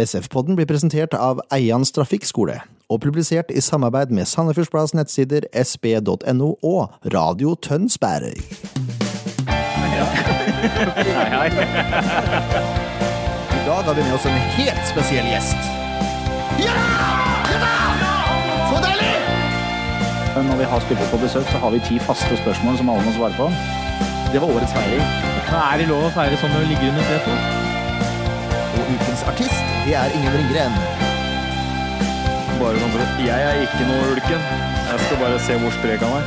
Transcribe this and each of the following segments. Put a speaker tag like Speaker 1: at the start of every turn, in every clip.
Speaker 1: SF-podden blir presentert av Eians Trafikkskole og publisert i samarbeid med Sandefjordsplads nettsider sb.no og Radio Tønsberg. I dag har vi med oss en helt spesiell gjest.
Speaker 2: Men Eh, når vi har spillere på besøk, så har vi ti faste spørsmål som alle må svare på. Det var årets feiring.
Speaker 3: Men er det lov å feire sånn når du ligger under setet?
Speaker 1: Og ukens artist, det er Ingen Ringgren.
Speaker 4: Bare sånn for at Jeg er ikke noe ulken. Jeg skal bare se hvor sprek han er.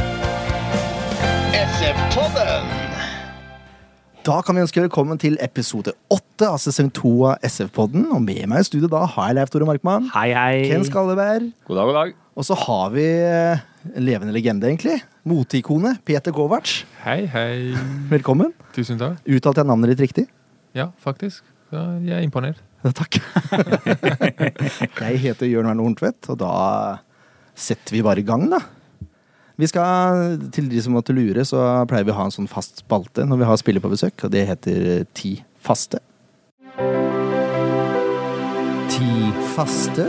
Speaker 1: Da kan vi ønske velkommen til episode åtte av sesong to av SF-podden. Og med meg i studio da har jeg Leif Tore Markmann.
Speaker 3: Hei, hei.
Speaker 1: Ken Skalleberg.
Speaker 4: God dag, god dag.
Speaker 1: Og så har vi eh, en levende legende, egentlig. Moteikonet Peter Kovac.
Speaker 5: Hei, hei.
Speaker 1: Velkommen.
Speaker 5: Tusen takk.
Speaker 1: Uttalte jeg navnet ditt riktig?
Speaker 5: Ja, faktisk. Ja, jeg er imponert.
Speaker 1: Ja, Takk. jeg heter Jørn Werner Horntvedt, og da setter vi bare i gang, da. Vi skal, Til de som måtte lure, så pleier vi å ha en sånn fast spalte når vi har spillere på besøk, og det heter eh, Ti faste. Ti faste?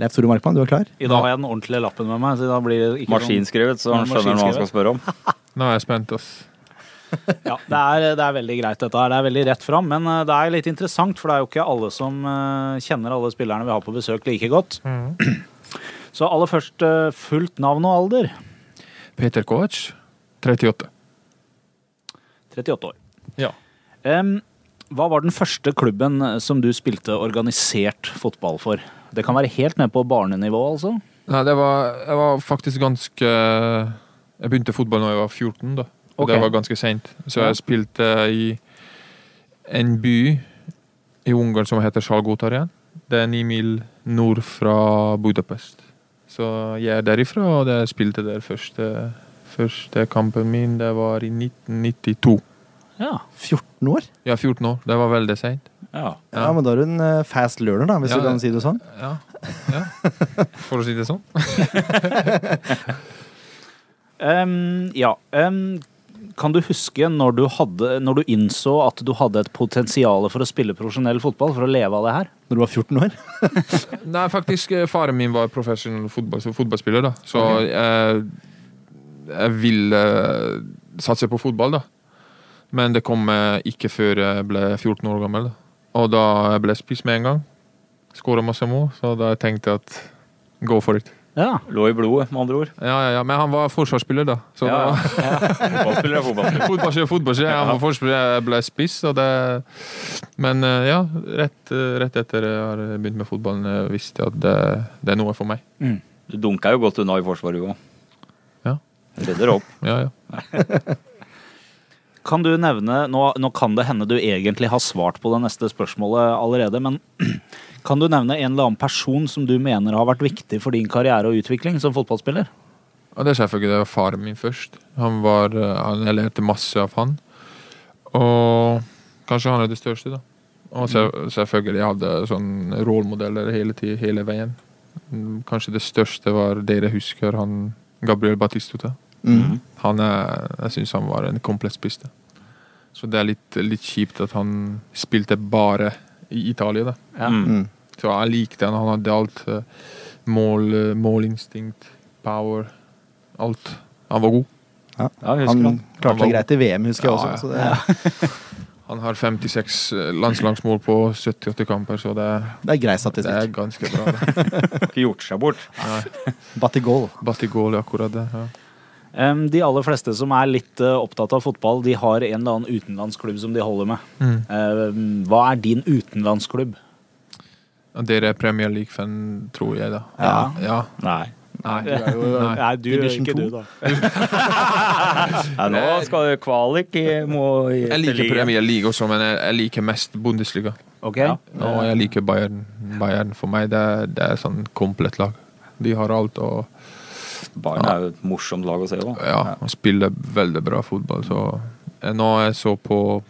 Speaker 1: Leif Tore Markmann, du er klar?
Speaker 2: I dag har jeg den ordentlige lappen med meg. så da blir det ikke
Speaker 4: Maskinskrevet, så han
Speaker 2: Ja,
Speaker 4: skjønner hva
Speaker 2: maskinskrevet.
Speaker 4: han skal spørre om.
Speaker 5: Nå er jeg spent, ass.
Speaker 2: Sånn, ja, det, er, det er veldig greit, dette her. Det er veldig rett fram. Men eh, det er litt interessant, for det er jo ikke alle som eh, kjenner alle spillerne vi har på besøk like godt. Så aller først eh, fullt navn og alder.
Speaker 5: Peter Kovac, 38.
Speaker 2: 38 år.
Speaker 5: Ja.
Speaker 2: Em, hva var den første klubben eh, som du spilte organisert fotball for? Det kan være helt ned på barnenivå, altså.
Speaker 5: Nei, det var, jeg var faktisk ganske Jeg begynte fotball da jeg var 14, da. Og
Speaker 2: Ok.
Speaker 5: det var ganske seint. Så
Speaker 2: Ja.
Speaker 5: jeg spilte i en by i Ungarn som heter Sjalgotaren. Det er ni mil nord fra Budapest. Så jeg er derifra, og jeg spilte der første, første kampen min. Det var i 1992.
Speaker 2: Ja.
Speaker 1: 14 år?
Speaker 5: Ja, 14 år. Det var veldig seint.
Speaker 2: ja.
Speaker 1: Ja, men da er du en eh, fast learner, da, hvis
Speaker 5: Ja,
Speaker 1: du kan
Speaker 5: det-
Speaker 1: si det sånn.
Speaker 5: Ja. ja. For å si det sånn.
Speaker 2: Ehm, ja. ehm, kan du huske når du, hadde, når du innså at du hadde et potensial for å spille profesjonell fotball, for å leve av det her?
Speaker 1: Når du var 14 år?
Speaker 5: Nei, faktisk, eh, faren min var professional fotball, så fotballspiller, da. Så jeg, jeg ville satse på fotball, da. Men det kom eh, ikke før jeg ble 14 år gammel. Da. Og da jeg ble spiss med en gang. Skåra masse mål, så da tenkte jeg at go for it.
Speaker 2: Ja.
Speaker 4: Lå i blodet, med andre ord.
Speaker 5: Ja, ja, ja. Men han var forsvarsspiller, da. Så
Speaker 4: Ja,
Speaker 5: da-
Speaker 4: Fotballspiller er fotballspiller.
Speaker 5: fotballspiller, fotballspiller. Han var forsvarsspiller, jeg ble spiss. Og det... Men eh, ja, rett, eh, rett etter jeg har begynt med fotballen, eh, visste jeg at det, det er noe for meg.
Speaker 4: Du dunka jo godt unna i forsvaret òg.
Speaker 5: Ja.
Speaker 4: Redder opp.
Speaker 5: Ja, ja.
Speaker 2: Kan du nevne, nå, nå kan det hende du egentlig har svart på det neste spørsmålet allerede, men kan du nevne en eller annen person som du mener har vært viktig for din karriere og utvikling som fotballspiller?
Speaker 5: Ja, det er selvfølgelig det var faren min først. Han var, eh, han, Jeg lærte masse av han. Og kanskje han er det største, da. Og så, selvfølgelig jeg hadde sånn rollemodeller hele, tid, hele veien. Mm, Kanskje det største var dere husker han Gabriel Batistuta.
Speaker 1: Mm.
Speaker 5: Han er, jeg syns han var en komplett spiss. da. Så det er litt, litt kjipt at han spilte bare i Italia, da.
Speaker 4: Mm.
Speaker 1: Mm.
Speaker 5: Så jeg likte han. Han hadde alt. eh, Mål, eh, målinstinkt, power. Alt. Han var god.
Speaker 4: Ja, jeg husker
Speaker 1: Han
Speaker 4: han.
Speaker 1: klarte det greit i VM, husker jeg
Speaker 5: Ja, ja.
Speaker 1: også. Så det,
Speaker 5: Han har 56 landslagsmål på 70-80 kamper, så det,
Speaker 1: det er grei
Speaker 5: det er
Speaker 1: statistikk.
Speaker 5: ganske bra. det.
Speaker 4: Ikke gjort seg bort.
Speaker 1: Batigol.
Speaker 5: Batigol, akkurat det. Ja.
Speaker 2: Em, de aller fleste som er litt eh, opptatt av fotball, de har en eller annen utenlandsklubb som de holder med.
Speaker 5: Mm.
Speaker 2: Em, hva er din utenlandsklubb?
Speaker 5: Og Dere er Premier League-fan, tror jeg, da.
Speaker 2: Ja.
Speaker 5: ja.
Speaker 2: Nei.
Speaker 5: Nei. Nei.
Speaker 2: Nei, du,
Speaker 1: Division
Speaker 2: ikke
Speaker 1: two.
Speaker 2: du, da.
Speaker 4: Nei, nå skal det kvalik i, må, i
Speaker 5: Jeg liker
Speaker 4: ligaen.
Speaker 5: Premier League også, men jeg jeg liker mest Bundesliga.
Speaker 2: Ok.
Speaker 5: Og jeg liker Bayern. Bayern for meg, det er, det er sånn komplett lag. De har alt og
Speaker 4: Bayern er jo et morsomt lag å se på.
Speaker 5: Ja, han spiller veldig bra fotball. Så Eh, nå jeg så på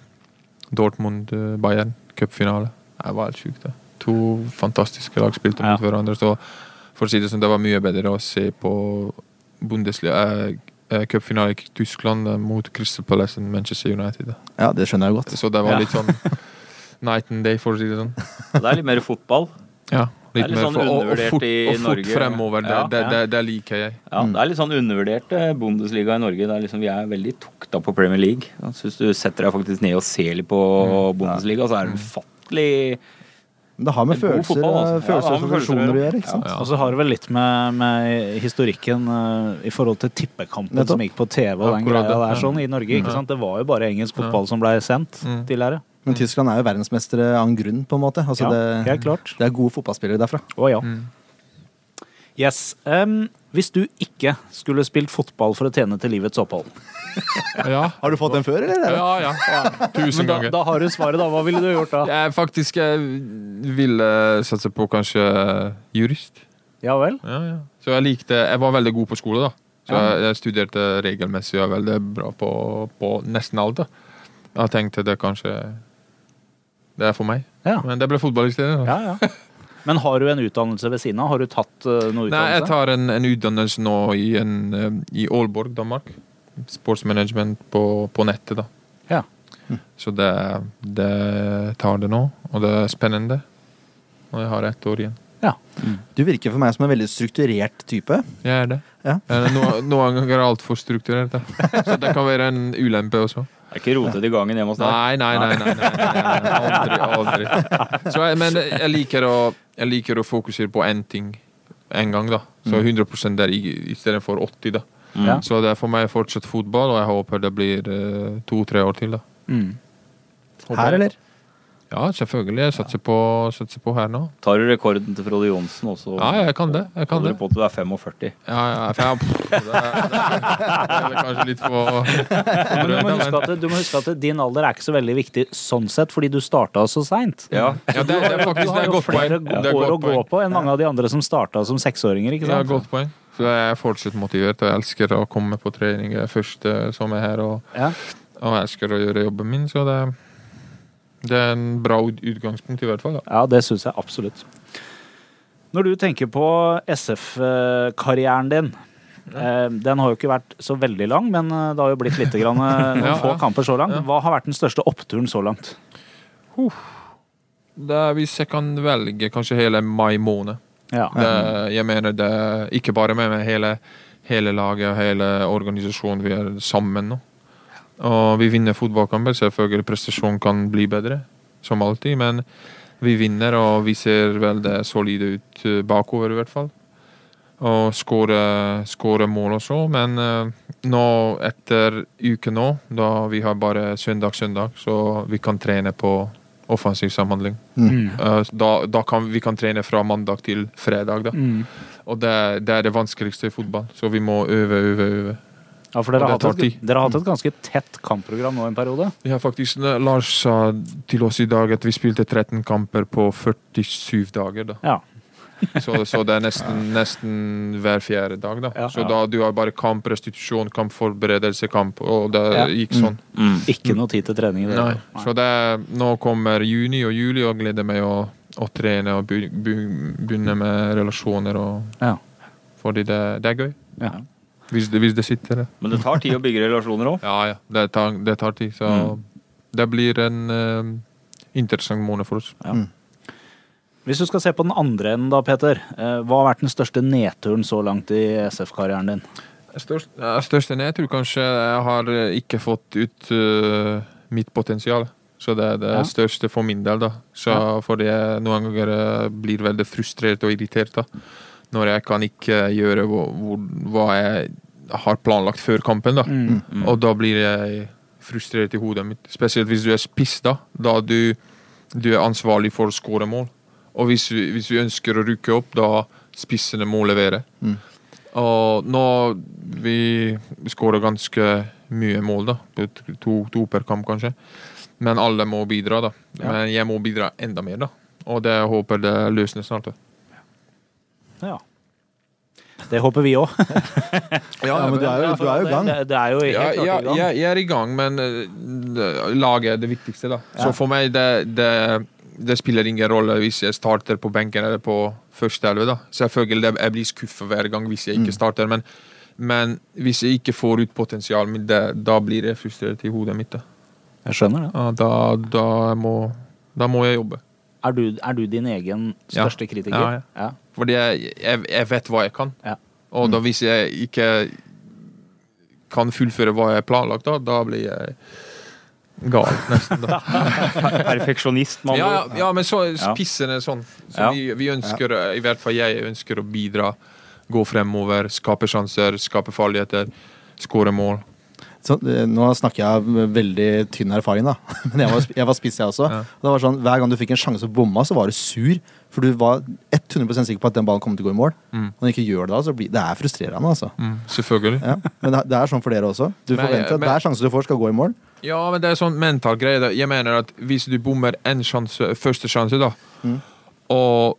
Speaker 5: Dortmund-Bayern cupfinale. Det var helt sjukt. det. To fantastiske lag spilte
Speaker 2: Ja.
Speaker 5: mot hverandre. Så for å si det sånn, det var mye bedre å se på Bundesliga eh, eh, cupfinale i Tyskland eh, mot Crystal Palace enn Manchester United. da.
Speaker 1: Ja, det skjønner jeg godt.
Speaker 5: Så det
Speaker 2: Ja.
Speaker 5: var litt sånn night and day, for å si det sånn.
Speaker 4: Det er litt mer fotball.
Speaker 5: Ja,
Speaker 4: Det er litt sånn
Speaker 5: for- og- og
Speaker 4: undervurdert
Speaker 5: fort-
Speaker 4: i
Speaker 5: og fort
Speaker 4: Norge.
Speaker 5: fremover. Det,
Speaker 4: Ja,
Speaker 5: det,
Speaker 4: ja.
Speaker 5: det, det liker jeg.
Speaker 4: Ja, Det er litt sånn undervurdert eh, Bundesliga i Norge. Det er liksom, vi er veldig tukta på Premier League. Så hvis du setter deg faktisk ned og ser litt på Bundesliga, så er det ufattelig
Speaker 1: Men det har med
Speaker 4: Det er god
Speaker 1: følelser,
Speaker 4: fotball, altså.
Speaker 1: eh, følelser
Speaker 4: Ja, det har
Speaker 1: og
Speaker 4: med følelser å
Speaker 1: tradisjoner å
Speaker 4: gjøre.
Speaker 1: gjøre. ikke sant?
Speaker 5: Ja.
Speaker 2: Og så har det vel litt med, med historikken eh, i forhold til tippekampen
Speaker 1: Nettopp.
Speaker 2: som gikk på TV og den
Speaker 5: Akkurat
Speaker 2: greia
Speaker 5: det, ja.
Speaker 2: der sånn i Norge. ikke sant? Det var jo bare engelsk fotball som ble sendt
Speaker 5: Mm.
Speaker 2: tidligere.
Speaker 1: Men Tyskland er jo verdensmestere av en grunn, på en måte. Altså,
Speaker 2: Ja,
Speaker 1: det,
Speaker 2: helt klart.
Speaker 1: det er gode fotballspillere derfra.
Speaker 2: Å ja.
Speaker 5: Mm.
Speaker 2: Yes. em, hvis du ikke skulle spilt fotball for å tjene til livets opphold,
Speaker 5: Ja,
Speaker 1: Har du fått den før, eller?
Speaker 5: ja. ja. Tusen
Speaker 2: Men da,
Speaker 5: ganger.
Speaker 2: da har du svaret, da. Hva ville du gjort da?
Speaker 5: Jeg faktisk jeg ville satse på kanskje jurist.
Speaker 2: Ja vel?
Speaker 5: Ja, ja. Så jeg likte Jeg var veldig god på skole, da. Så jeg, jeg studerte regelmessig og er veldig bra på, på nesten alt. da. Jeg tenkte det kanskje Det er for meg.
Speaker 2: Ja.
Speaker 5: Men det ble fotball i stedet. da.
Speaker 2: ja, ja. Men har du en utdannelse ved siden av? Har du tatt eh, noe utdannelse?
Speaker 5: Nei, jeg tar en, en utdannelse nå i, en, eh, i Aalborg, Danmark. Sportsmanagement på, på nettet, da.
Speaker 2: Ja.
Speaker 5: Så det, det tar det nå, og det er spennende. Og jeg har ett år igjen.
Speaker 1: Du virker for meg som en veldig strukturert type.
Speaker 5: Jeg er det.
Speaker 1: Ja.
Speaker 5: Eh, no- Noen ganger er altfor strukturert. da. Så det kan være en ulempe også.
Speaker 4: Det er ikke rotete i gangen hjemme hos deg.
Speaker 5: Nei, nei, nei. nei, nei, nei, nei. Aldri. aldri. Så jeg, men jeg liker, å, jeg liker å fokusere på én ting en gang, da. Så 100 der istedenfor 80, da.
Speaker 2: Ja.
Speaker 5: Så det er for meg fortsatt fotball, og jeg håper det blir to-tre år til, da.
Speaker 2: Mm.
Speaker 5: Håper
Speaker 1: Her,
Speaker 5: jeg.
Speaker 1: eller?
Speaker 5: Ja, selvfølgelig. Jeg satser på, satser på her nå.
Speaker 4: Tar du rekorden til Frode Johnsen også?
Speaker 5: Ja, jeg kan det. Jeg kan
Speaker 4: holder
Speaker 5: det.
Speaker 4: du på til du er 45.
Speaker 5: Ja, ja, for jeg, det, er, det, er, det er kanskje litt for
Speaker 2: Men du, må huske at, du må huske at din alder er ikke så veldig viktig sånn sett, fordi du starta så seint.
Speaker 4: Ja.
Speaker 5: Ja, det, det er
Speaker 2: Du
Speaker 5: faktisk det
Speaker 2: har
Speaker 5: er
Speaker 2: jo
Speaker 5: godt poeng.
Speaker 2: flere
Speaker 5: Det er
Speaker 2: år å
Speaker 5: godt
Speaker 2: gå
Speaker 5: poeng.
Speaker 2: på enn mange av de andre som starta som seksåringer. ikke
Speaker 5: Ja,
Speaker 2: sant?
Speaker 5: godt poeng. Så jeg er fortsatt motivert, og jeg elsker å komme på trening. Jeg er først eh, som er her, og,
Speaker 2: Ja.
Speaker 5: og jeg elsker å gjøre jobben min, så det, det er en bra ut- utgangspunkt i hvert fall. Da.
Speaker 2: Ja, det syns jeg absolutt. Når du tenker på SF-karrieren din eh, Den har jo ikke vært så veldig lang, men eh, det har jo blitt litt grann, eh, noen
Speaker 5: Ja,
Speaker 2: få
Speaker 5: ja.
Speaker 2: kamper så langt.
Speaker 5: Ja.
Speaker 2: Hva har vært den største oppturen så langt?
Speaker 5: Det er hvis jeg kan velge kanskje hele mai måned.
Speaker 2: Ja.
Speaker 5: Det, jeg mener det er ikke bare med meg, hele, hele laget og hele organisasjonen. Vi er sammen nå. Og vi vinner fotballkamper. Selvfølgelig prestasjonen kan bli bedre, som alltid. Men vi vinner, og vi ser veldig solide ut eh, bakover, i hvert fall. Og skåre skåre mål også. Men eh, nå, etter uke nå, da vi har bare søndag, søndag, så vi kan trene på offensiv samhandling.
Speaker 2: Mm.
Speaker 5: Eh, Da, da kan vi kan trene fra mandag til fredag, da.
Speaker 2: Mm.
Speaker 5: Og det, det er det vanskeligste i fotball, så vi må øve, øve, øve.
Speaker 2: Ja, for dere har,
Speaker 5: Og det
Speaker 2: hatt
Speaker 5: tar
Speaker 2: et, dere har hatt et ganske tett kampprogram nå en periode.
Speaker 5: Vi har faktisk, eh, Lars sa til oss i dag at vi spilte 13 kamper på 47 dager, da.
Speaker 2: Ja.
Speaker 5: Så, så det er nesten, nesten hver fjerde dag, da.
Speaker 2: Ja.
Speaker 5: Så da du har bare kamp, restitusjon, kamp, forberedelse, kamp, og det
Speaker 2: Ja.
Speaker 5: gikk sånn.
Speaker 4: Mm.
Speaker 2: Ikke noe tid til trening. i det.
Speaker 5: Nei. Så det er, nå kommer juni og juli, og jeg gleder meg å, å trene og be- be- begynne med relasjoner og
Speaker 2: Ja.
Speaker 5: Fordi det, det er gøy.
Speaker 2: Ja.
Speaker 5: Hvis det, hvis det sitter. det.
Speaker 4: Men det tar tid å bygge relasjoner òg.
Speaker 5: Ja, ja. Det tar, det tar tid. Så det blir en eh, interessant måned for oss.
Speaker 2: Hvis du skal se på den andre enden da, Peter. eh, Hva har vært den største nedturen så langt i SF-karrieren din?
Speaker 5: Størst, ja, største nedtur kanskje jeg har eh, ikke fått ut eh, mitt potensial. Så det er det
Speaker 2: Ja.
Speaker 5: største for min del. da. Så Fordi jeg noen ganger eh, blir veldig frustrert og irritert da. når jeg kan ikke eh, gjøre hva, hvor, hva jeg har planlagt før kampen. da.
Speaker 2: Mm.
Speaker 5: Mm. Og da blir jeg frustrert i hodet mitt. Spesielt hvis du er spiss, da. Da du, du er ansvarlig for å skåre mål. Og hvis, vi- hvis vi ønsker å rykke opp, da spissene må levere.
Speaker 1: Mm.
Speaker 5: Og nå Vi skårer ganske mye mål, da. To- To, to per kamp, kanskje. Men alle må bidra, da. Men jeg må bidra enda mer, da. Og det jeg håper det løsner snart. da.
Speaker 2: Ja. Det håper vi òg.
Speaker 1: Ja, men du er jo, du er jo i gang.
Speaker 2: Det, det er jo helt
Speaker 5: Ja,
Speaker 2: klart
Speaker 5: ja,
Speaker 2: i gang.
Speaker 5: jeg, jeg er i gang, men eh, laget er det viktigste, da. Så for meg, det, det, det spiller ingen rolle hvis jeg starter på benken eller på første elve, da. Selvfølgelig, det- jeg blir skuffet hver gang hvis jeg
Speaker 2: Mm.
Speaker 5: ikke starter, men, men hvis jeg ikke får ut potensialet mitt, det- da blir jeg frustrert i hodet mitt, da.
Speaker 2: Jeg skjønner det.
Speaker 5: Ja, Da, da jeg må Da må jeg jobbe.
Speaker 2: Er du, er du din egen
Speaker 5: Ja.
Speaker 2: største kritiker?
Speaker 5: Ja, ja. Fordi jeg, jeg, jeg vet hva jeg kan.
Speaker 2: Ja. Mm.
Speaker 5: Og da hvis jeg ikke kan fullføre hva jeg har planlagt, da, da blir jeg gal, nesten. Da.
Speaker 4: Perfeksjonist,
Speaker 5: Ja,
Speaker 4: mann.
Speaker 5: ja, ja, men så
Speaker 4: Ja.
Speaker 5: spisser det sånn. Så
Speaker 4: Ja.
Speaker 5: vi, vi ønsker, i hvert fall jeg ønsker å bidra, gå fremover, skape sjanser, skape farligheter, skåre mål.
Speaker 1: Så, eh, nå snakker jeg av veldig tynn erfaring, da. Men jeg var, jeg var spiss, jeg også.
Speaker 5: Ja.
Speaker 1: Og det var sånn, Hver gang du fikk en sjanse og bomma, så var du sur. For du var 100 sikker på at den ballen kom til å gå i mål.
Speaker 5: Mm.
Speaker 1: Og når du ikke gjør det da, så blir det er frustrerende, altså.
Speaker 5: Mm, selvfølgelig.
Speaker 1: Ja. Men det, det er sånn for dere også. Du
Speaker 5: Men-
Speaker 1: forventer at
Speaker 5: men-
Speaker 1: hver sjanse du får, skal gå i mål.
Speaker 5: Ja, men det er sånn mental greie. da. Jeg mener at hvis du bommer en sjanse, første sjanse, da, og,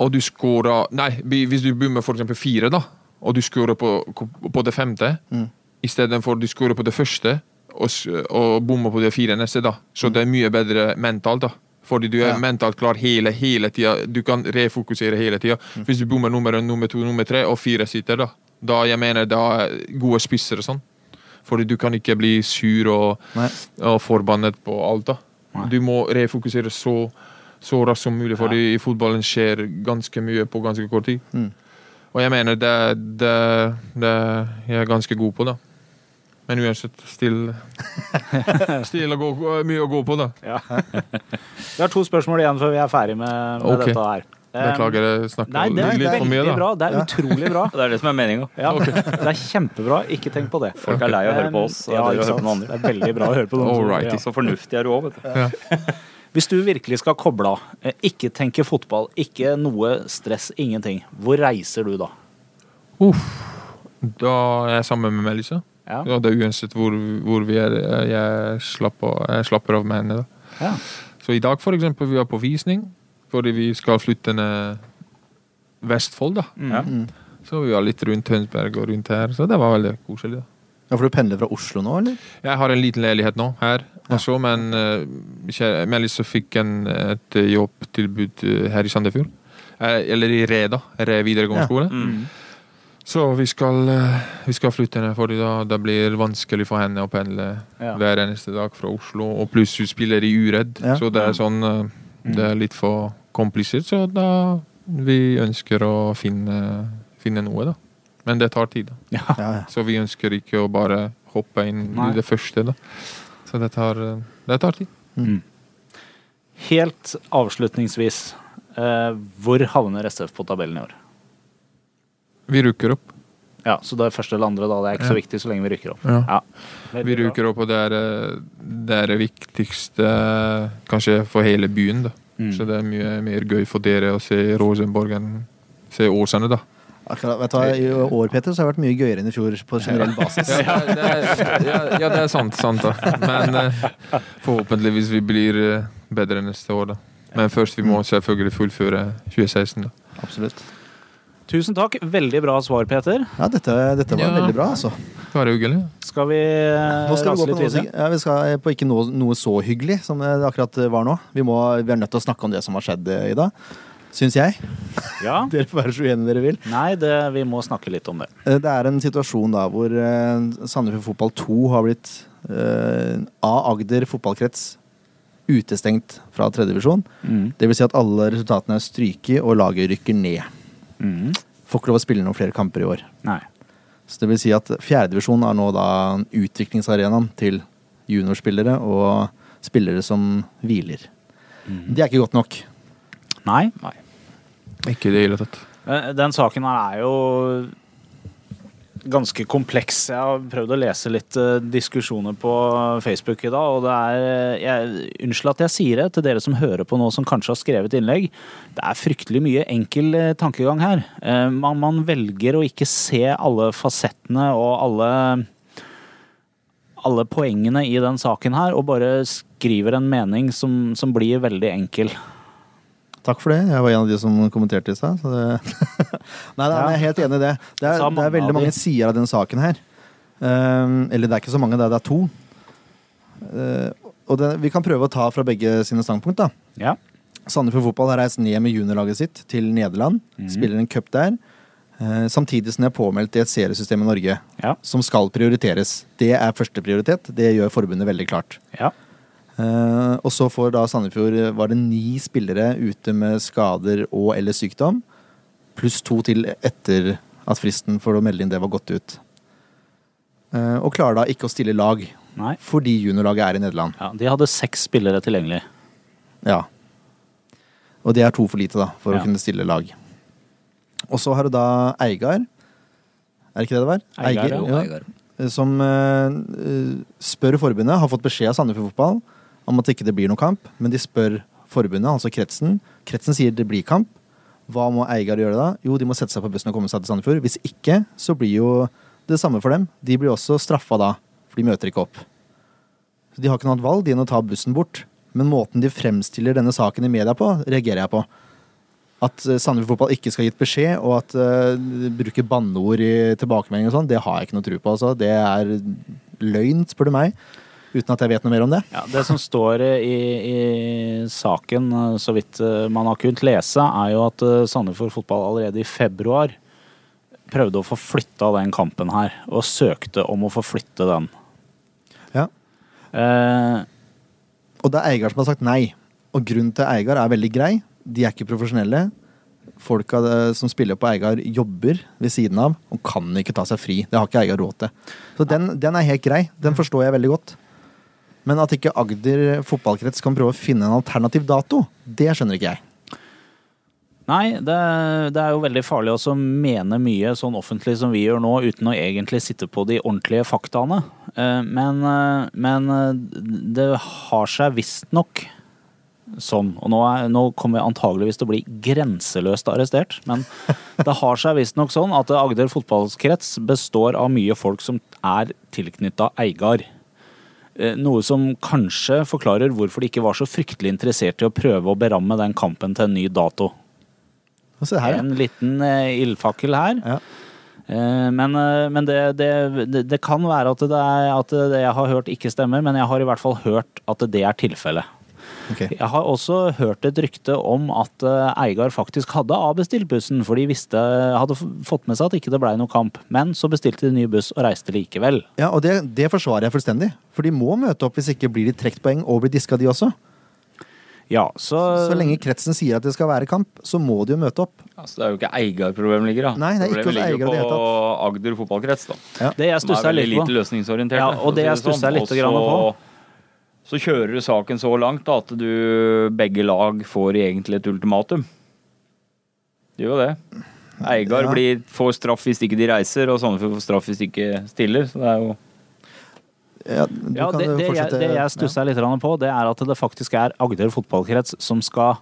Speaker 5: og du scorer Nei, vi- hvis du bommer for eksempel fire, da, og du scorer på, på det femte,
Speaker 1: Mm.
Speaker 5: istedenfor du scorer på det første og, s- og bommer på det fire neste, da. Så det er mye bedre mentalt, da. Fordi du er
Speaker 1: Ja.
Speaker 5: mentalt klar hele, hele tida. Du kan refokusere hele tida.
Speaker 1: Mm.
Speaker 5: Hvis du bommer nummer en, nummer to, nummer tre, og fire sitter, da. Da jeg mener da er gode spisser og sånn. Fordi du kan ikke bli sur og,
Speaker 1: Nei.
Speaker 5: og forbannet på alt. da. Du må refokusere så, så raskt som mulig, fordi i fotballen skjer ganske mye på ganske kort tid.
Speaker 1: Mm.
Speaker 5: Og jeg mener det, det, det jeg er ganske god på, da. Men uansett, still Still og gå, mye å gå på, da.
Speaker 2: Vi har to spørsmål igjen før vi er ferdig med, med
Speaker 5: Ok.
Speaker 2: dette her. Eh,
Speaker 5: Beklager, jeg snakker
Speaker 2: Nei, det er,
Speaker 5: litt for mye,
Speaker 2: veldig
Speaker 5: da.
Speaker 2: bra. Det er utrolig bra.
Speaker 4: Det er det som er meninga.
Speaker 2: Ja, Det er kjempebra. Ikke tenk på det.
Speaker 4: Folk er lei av å høre på oss. Og
Speaker 2: Ja,
Speaker 4: dere
Speaker 2: ikke
Speaker 4: hører
Speaker 2: sant?
Speaker 4: på noen andre.
Speaker 2: Det er veldig bra å høre på noen. som-
Speaker 5: Alrighty.
Speaker 2: ja.
Speaker 4: Så fornuftig er du òg, vet du.
Speaker 2: Hvis du virkelig skal koble av, eh, ikke tenke fotball, ikke noe stress, ingenting, hvor reiser du da?
Speaker 5: Da er jeg sammen med Melissa.
Speaker 2: Ja.
Speaker 5: Ja, det er uansett hvor, hvor vi er. Jeg slapper, jeg slapper av med henne. da.
Speaker 2: Ja.
Speaker 5: Så i dag for eksempel, vi er på visning, fordi vi skal flytte ned Vestfold. da.
Speaker 2: Mm.
Speaker 4: Ja.
Speaker 5: Så vi var litt rundt Tønsberg og rundt her, så det var veldig koselig. da.
Speaker 1: Ja, For du pendler fra Oslo nå, eller?
Speaker 5: Jeg har en liten leilighet nå her, også, men eh, kjære- Melissa fikk en, et jobbtilbud eh, her i Sandefjord. Eh, Eller i Re, da. Re videregående
Speaker 1: Ja.
Speaker 5: skole.
Speaker 4: Mm.
Speaker 5: Så vi skal, eh, vi skal flytte ned, for da, det blir vanskelig for henne å pendle
Speaker 2: Ja.
Speaker 5: hver eneste dag fra Oslo. Og pluss hun spiller i Uredd,
Speaker 1: Ja.
Speaker 5: så det er sånn eh, Det er litt for komplisert, så da vi ønsker å finne, finne noe, da. Men det tar tid, da.
Speaker 1: Ja, ja.
Speaker 5: Så vi ønsker ikke å bare hoppe inn
Speaker 2: Nei.
Speaker 5: i det første, da. Så det tar, eh, det tar tid.
Speaker 2: Mm. Helt avslutningsvis, eh, hvor havner SF på tabellen i år?
Speaker 5: Vi ruker opp.
Speaker 2: Ja, Så det første eller andre, da. Det er ikke så viktig så lenge vi rykker opp.
Speaker 5: Ja.
Speaker 2: Ja.
Speaker 5: Vi ruker opp, og det er eh, det, er det viktigste eh, kanskje for hele byen. da.
Speaker 2: Mm.
Speaker 5: Så det er mye mer gøy for dere å se Rosenborg enn se Åsane, da.
Speaker 1: Akkurat, vet du hva, I år Peter, så har det vært mye gøyere enn i fjor på generell basis.
Speaker 5: Ja, det er, ja, ja, det er sant, sant da. Men eh, forhåpentligvis vi blir eh, bedre neste år, da. Men først vi må selvfølgelig fullføre 2016, da.
Speaker 1: Absolutt.
Speaker 2: Tusen takk. Veldig bra svar, Peter.
Speaker 1: Ja, dette, dette var
Speaker 5: Ja.
Speaker 1: veldig bra, altså.
Speaker 5: Det var hyggelig.
Speaker 2: Skal vi eh,
Speaker 1: Nå skal vi gå
Speaker 2: rase
Speaker 1: på
Speaker 2: litt
Speaker 1: noe,
Speaker 2: videre?
Speaker 1: som- ja, vi skal eh, på ikke noe, noe så hyggelig som eh, det akkurat var nå. Vi, må, vi er nødt til å snakke om det som har skjedd eh, i dag, syns jeg.
Speaker 2: Ja.
Speaker 1: Dere får være så uenige dere vil.
Speaker 2: Nei, det, vi må snakke litt om det.
Speaker 1: Eh, Det er en situasjon da hvor eh, Sandefjord Fotball 2 har blitt eh, av Agder fotballkrets utestengt fra tredje divisjon. Det vil si at alle resultatene er stryket, og laget rykker ned.
Speaker 2: Mm.
Speaker 1: Får ikke lov å spille noen flere kamper i år.
Speaker 2: Nei.
Speaker 1: Så det vil si at fjerdedivisjon er nå da utviklingsarenaen til juniorspillere og spillere som hviler.
Speaker 2: Mm.
Speaker 1: Det er ikke godt nok.
Speaker 2: Nei.
Speaker 5: Ikke i det hele tatt.
Speaker 2: Eh, Den saken her er jo ganske kompleks. Jeg har prøvd å lese litt eh, diskusjoner på Facebook i dag, og det er eh, jeg, Unnskyld at jeg sier det til dere som hører på nå, som kanskje har skrevet innlegg. Det er fryktelig mye enkel eh, tankegang her. Eh, Man, man velger å ikke se alle fasettene og alle alle poengene i den saken her, og bare skriver en mening som, som blir veldig enkel.
Speaker 1: Takk for det. Jeg var en av de som kommenterte i stad. så Det... Nei, nei, men jeg er helt enig i det. Det er, det
Speaker 2: Sa mange
Speaker 1: er veldig
Speaker 2: av de.
Speaker 1: mange sider av den saken her. Ehm, eller det er ikke så mange, det er, det er to. Eh, og det, vi kan prøve å ta fra begge sine standpunkt. da.
Speaker 2: Ja.
Speaker 1: Sandefjord Fotball har reist ned med juniorlaget sitt til Nederland. Spiller en cup der. eh, samtidig som de er påmeldt i et seriesystem i Norge
Speaker 2: Ja.
Speaker 1: som skal prioriteres. Det er førsteprioritet. Det gjør forbundet veldig klart.
Speaker 2: Ja.
Speaker 1: Eh, Eh, og så får da Sandefjord eh, var det ni spillere ute med skader og eller sykdom. Pluss to til etter at fristen for å melde inn det var gått ut. Eh, og klarer da ikke å stille lag,
Speaker 2: Nei.
Speaker 1: fordi juniorlaget er i Nederland.
Speaker 2: Ja, de hadde seks spillere tilgjengelig.
Speaker 1: Ja. Og det er to for lite, da, for
Speaker 2: Ja.
Speaker 1: å kunne stille lag. Og så har du da Eigar. Er det ikke det det var?
Speaker 2: Eigar, ja.
Speaker 4: Jo, Eigar.
Speaker 1: Eh, Som eh, eh, spør forbundet, har fått beskjed av Sandefjord Fotball om at ikke det blir noen kamp, men de spør forbundet, altså kretsen. Kretsen sier det blir kamp. Hva må Eigar gjøre da? Jo, de må sette seg på bussen og komme seg til Sandefjord. Hvis ikke, så blir jo det samme for dem. De blir også straffa da, for de møter ikke opp. Så de har ikke noe annet valg de enn å ta bussen bort. Men måten de fremstiller denne saken i media på, reagerer jeg på. At eh, Sandefjord Fotball ikke skal ha gitt beskjed, og at eh, de bruker banneord i tilbakemeldinger og sånn, det har jeg ikke noe tro på. Altså. Det er løgn, spør du meg. Uten at jeg vet noe mer om det.
Speaker 2: Ja, det som står eh, i, i saken, eh, så vidt eh, man har kunnet lese, er jo at eh, Sandefjord Fotball allerede i februar prøvde å få flytta den kampen her, og søkte om å få flytte den.
Speaker 1: Ja.
Speaker 2: Eh,
Speaker 1: Og det er Eigar som har sagt nei. Og grunnen til Eigar er veldig grei. De er ikke profesjonelle. Folka eh, som spiller på Eigar, jobber ved siden av og kan ikke ta seg fri. Det har ikke Eigar råd til. Så den, den er helt grei. Den forstår jeg veldig godt. Men at ikke Agder fotballkrets kan prøve å finne en alternativ dato, det skjønner ikke jeg.
Speaker 2: Nei, det, det er jo veldig farlig også å mene mye sånn offentlig som vi gjør nå, uten å egentlig sitte på de ordentlige faktaene. Eh, Men, eh, men eh, det har seg visstnok sånn, og nå, er, nå kommer jeg antageligvis til å bli grenseløst arrestert, men det har seg visstnok sånn at Agder fotballkrets består av mye folk som er tilknytta Eigar. Eh, Noe som kanskje forklarer hvorfor de ikke var så fryktelig interessert i å prøve å beramme den kampen til en ny dato.
Speaker 1: Og se her, ja.
Speaker 2: En liten eh, ildfakkel her.
Speaker 1: Ja.
Speaker 2: Eh, men eh, men det, det, det, det kan være at det, er, at det jeg har hørt ikke stemmer, men jeg har i hvert fall hørt at det er tilfellet.
Speaker 1: Ok.
Speaker 2: Jeg har også hørt et rykte om at eh, Eigar faktisk hadde avbestilt bussen, for de visste, hadde f- fått med seg at ikke det blei noe kamp. Men så bestilte de ny buss og reiste likevel.
Speaker 1: ja og det, det forsvarer jeg fullstendig. For de må møte opp, hvis ikke blir de trukket poeng og blir diska, de også.
Speaker 2: Ja, så,
Speaker 1: Så lenge kretsen sier at det skal være kamp, så må de jo møte opp.
Speaker 4: Altså, det er jo ikke Eigar-problemet ligger, da.
Speaker 1: Nei, det er ikke hos
Speaker 4: Problemet ligger
Speaker 1: Eigar i det hele
Speaker 4: på Agder fotballkrets, da.
Speaker 2: Det jeg
Speaker 4: Som er
Speaker 2: stussa
Speaker 4: veldig
Speaker 2: litt på.
Speaker 4: lite løsningsorientert.
Speaker 2: Ja,
Speaker 4: da,
Speaker 2: og
Speaker 4: for å
Speaker 2: det
Speaker 4: si sånn.
Speaker 2: jeg stusset litt
Speaker 4: Og
Speaker 2: grann på.
Speaker 4: Så kjører du saken så langt da, at du begge lag får egentlig et ultimatum. Det gjør jo det. Eigar
Speaker 1: Ja.
Speaker 4: blir, får straff hvis ikke de reiser, og Sandefjord får straff hvis de ikke stiller. Så det er jo
Speaker 1: Ja, du
Speaker 2: Ja,
Speaker 1: kan
Speaker 2: det,
Speaker 1: jo
Speaker 2: det, jeg,
Speaker 1: fortsette-
Speaker 2: det
Speaker 1: Ja.
Speaker 2: jeg stusser litt grann på, det er at det faktisk er Agder fotballkrets som skal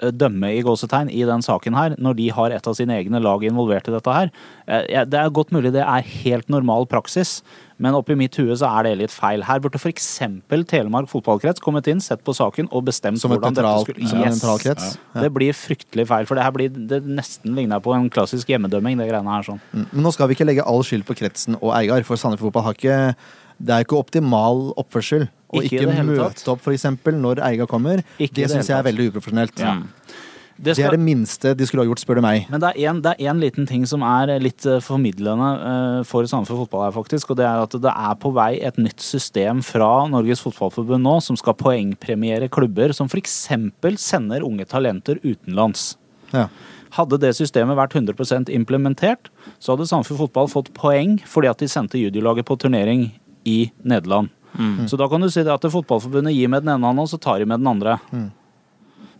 Speaker 2: eh, dømme i gåsetegn i den saken her, når de har et av sine egne lag involvert i dette her. Eh, jeg- Det er godt mulig det er helt normal praksis, men oppi mitt hue så er det litt feil. Her burde f.eks. Telemark fotballkrets kommet inn, sett på saken og bestemt
Speaker 1: Som et
Speaker 2: hvordan dette
Speaker 1: nøytralt-
Speaker 2: skulle
Speaker 1: som en nøytral krets. Ja.
Speaker 2: Det blir fryktelig feil, for det her blir det nesten ligner på en klassisk hjemmedømming, det greiene her sånn.
Speaker 1: Mm, Men nå skal vi ikke legge all skyld på kretsen og Eigar, for Sandefjord Fotball har ikke Det er ikke optimal oppførsel å
Speaker 2: Ikke i
Speaker 1: ikke,
Speaker 2: det hele
Speaker 1: møte
Speaker 2: tatt.
Speaker 1: opp, for eksempel, når Eigar kommer. det
Speaker 2: Ikke i det
Speaker 1: syns jeg
Speaker 2: hele
Speaker 1: er veldig uprofesjonelt.
Speaker 2: Det
Speaker 1: Det
Speaker 2: skal-
Speaker 1: er det minste de skulle ha gjort, spør du meg.
Speaker 2: Men det er en- det er én liten ting som er litt eh, formidlende eh, for Sandefjord fotball her, faktisk. Og det er at det er på vei et nytt system fra Norges Fotballforbund nå som skal poengpremiere klubber som f.eks. sender unge talenter utenlands.
Speaker 1: Ja.
Speaker 2: Hadde det systemet vært 100 implementert, så hadde Sandefjord fotball fått poeng fordi at de sendte juniorlaget på turnering i Nederland. Så da kan du si det at Fotballforbundet gir med den ene hånda, og så tar de med den andre.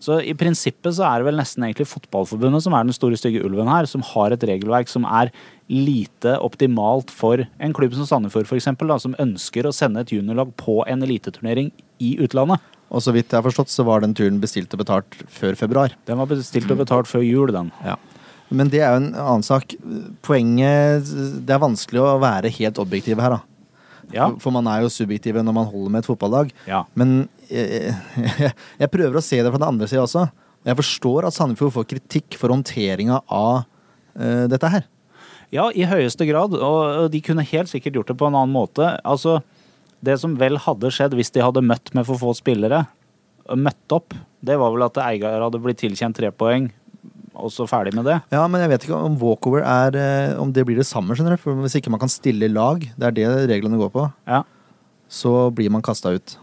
Speaker 2: Så i prinsippet så er det vel nesten egentlig Fotballforbundet som er den store stygge ulven her, som har et regelverk som er lite optimalt for en klubb som Sandefjord f.eks., som ønsker å sende et juniorlag på en eliteturnering i utlandet.
Speaker 1: Og så vidt jeg har forstått, så var den turen bestilt og betalt før februar.
Speaker 2: Den var bestilt og betalt før jul, den.
Speaker 1: Men det er jo en annen sak. Poenget Det er vanskelig å være helt objektiv her, da.
Speaker 2: Ja.
Speaker 1: For man er jo subjektiv når man holder med et fotballag.
Speaker 2: Ja.
Speaker 1: Men jeg, jeg, jeg prøver å se det fra den andre sida også. Jeg forstår at Sandefjord får kritikk for håndteringa av eh, dette her.
Speaker 2: Ja, i høyeste grad. Og og de kunne helt sikkert gjort det på en annen måte. Altså, det som vel hadde skjedd hvis de hadde møtt med for få spillere, og møtt opp, det var vel at Eigar hadde blitt tilkjent tre poeng, og så ferdig med det.
Speaker 1: Ja, men jeg vet ikke om walkover er eh, Om det blir det samme, skjønner du. For hvis ikke man kan stille lag, det er det reglene går på,
Speaker 2: Ja.
Speaker 1: så blir man kasta ut.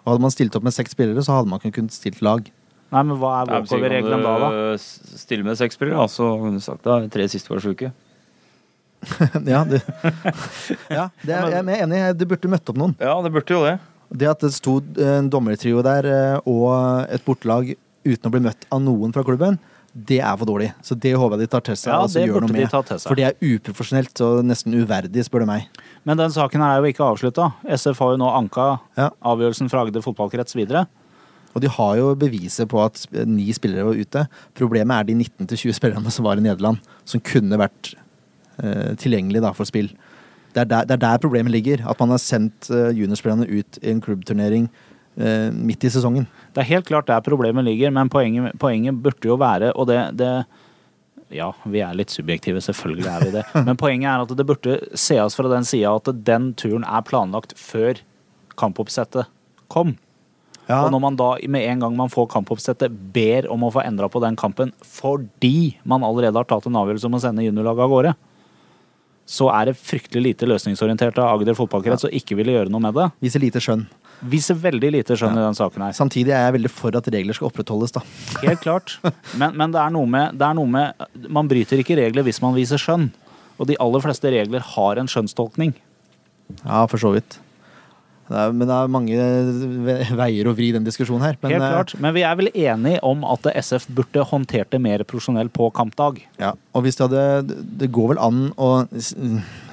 Speaker 1: Og hadde man stilt opp med seks spillere, så hadde man ikke kunnet stilt lag.
Speaker 2: Nei, men hva er
Speaker 4: Nei, men så kan
Speaker 2: walkover-regelen da, da?
Speaker 4: du, eh, s- Stille med seks spillere, altså kunne du sagt da tre siste var sjuke.
Speaker 1: ja, det, ja det er, jeg er enig. Du burde møtt opp noen.
Speaker 4: Ja, det burde jo det.
Speaker 1: Det at det sto en dommertrio der eh, og et bortelag uten å bli møtt av noen fra klubben, det er for dårlig. Så det håper jeg de tar til seg.
Speaker 2: Ja,
Speaker 1: og så
Speaker 2: det
Speaker 1: gjør
Speaker 2: burde
Speaker 1: noe
Speaker 2: de
Speaker 1: med.
Speaker 2: ta til seg.
Speaker 1: For det er uprofesjonelt og nesten uverdig, spør du meg.
Speaker 2: Men den saken er jo ikke avslutta. SF har jo nå anka
Speaker 1: Ja.
Speaker 2: avgjørelsen fra Agder fotballkrets videre.
Speaker 1: Og de har jo beviset på at sp- ni spillere var ute. Problemet er de 19-20 spillerne som var i Nederland, som kunne vært eh, tilgjengelige da, for spill. Det er, der, det er der problemet ligger. At man har sendt eh, juniorspillerne ut i en klubbturnering eh, midt i sesongen.
Speaker 2: Det er helt klart der problemet ligger, men poenget, poenget burde jo være, og det, det Ja, vi er litt subjektive, selvfølgelig er vi det. Men poenget er at det burde sees fra den sida at den turen er planlagt før kampoppsettet kom.
Speaker 1: Ja,
Speaker 2: Og når man da med en gang man får kampoppsettet, ber om å få endra på den kampen fordi man allerede har tatt en avgjørelse om å sende juniorlaget av gårde, så er det fryktelig lite løsningsorientert av Agder fotballkrets å ikke ville gjøre noe med det.
Speaker 1: Viser lite skjønn.
Speaker 2: Viser veldig lite skjønn i den saken her.
Speaker 1: Samtidig er jeg veldig for at regler skal opprettholdes, da.
Speaker 2: Helt klart. Men, men det, er noe med, det er noe med Man bryter ikke regler hvis man viser skjønn. Og de aller fleste regler har en skjønnstolkning.
Speaker 1: Ja, for så vidt. Det er, men det er mange ve- veier å vri den diskusjonen her. Men,
Speaker 2: Helt
Speaker 1: eh,
Speaker 2: klart. Men vi er vel enige om at SF burde håndtert det mer profesjonelt på kampdag.
Speaker 1: Ja, og hvis det hadde Det går vel an å s-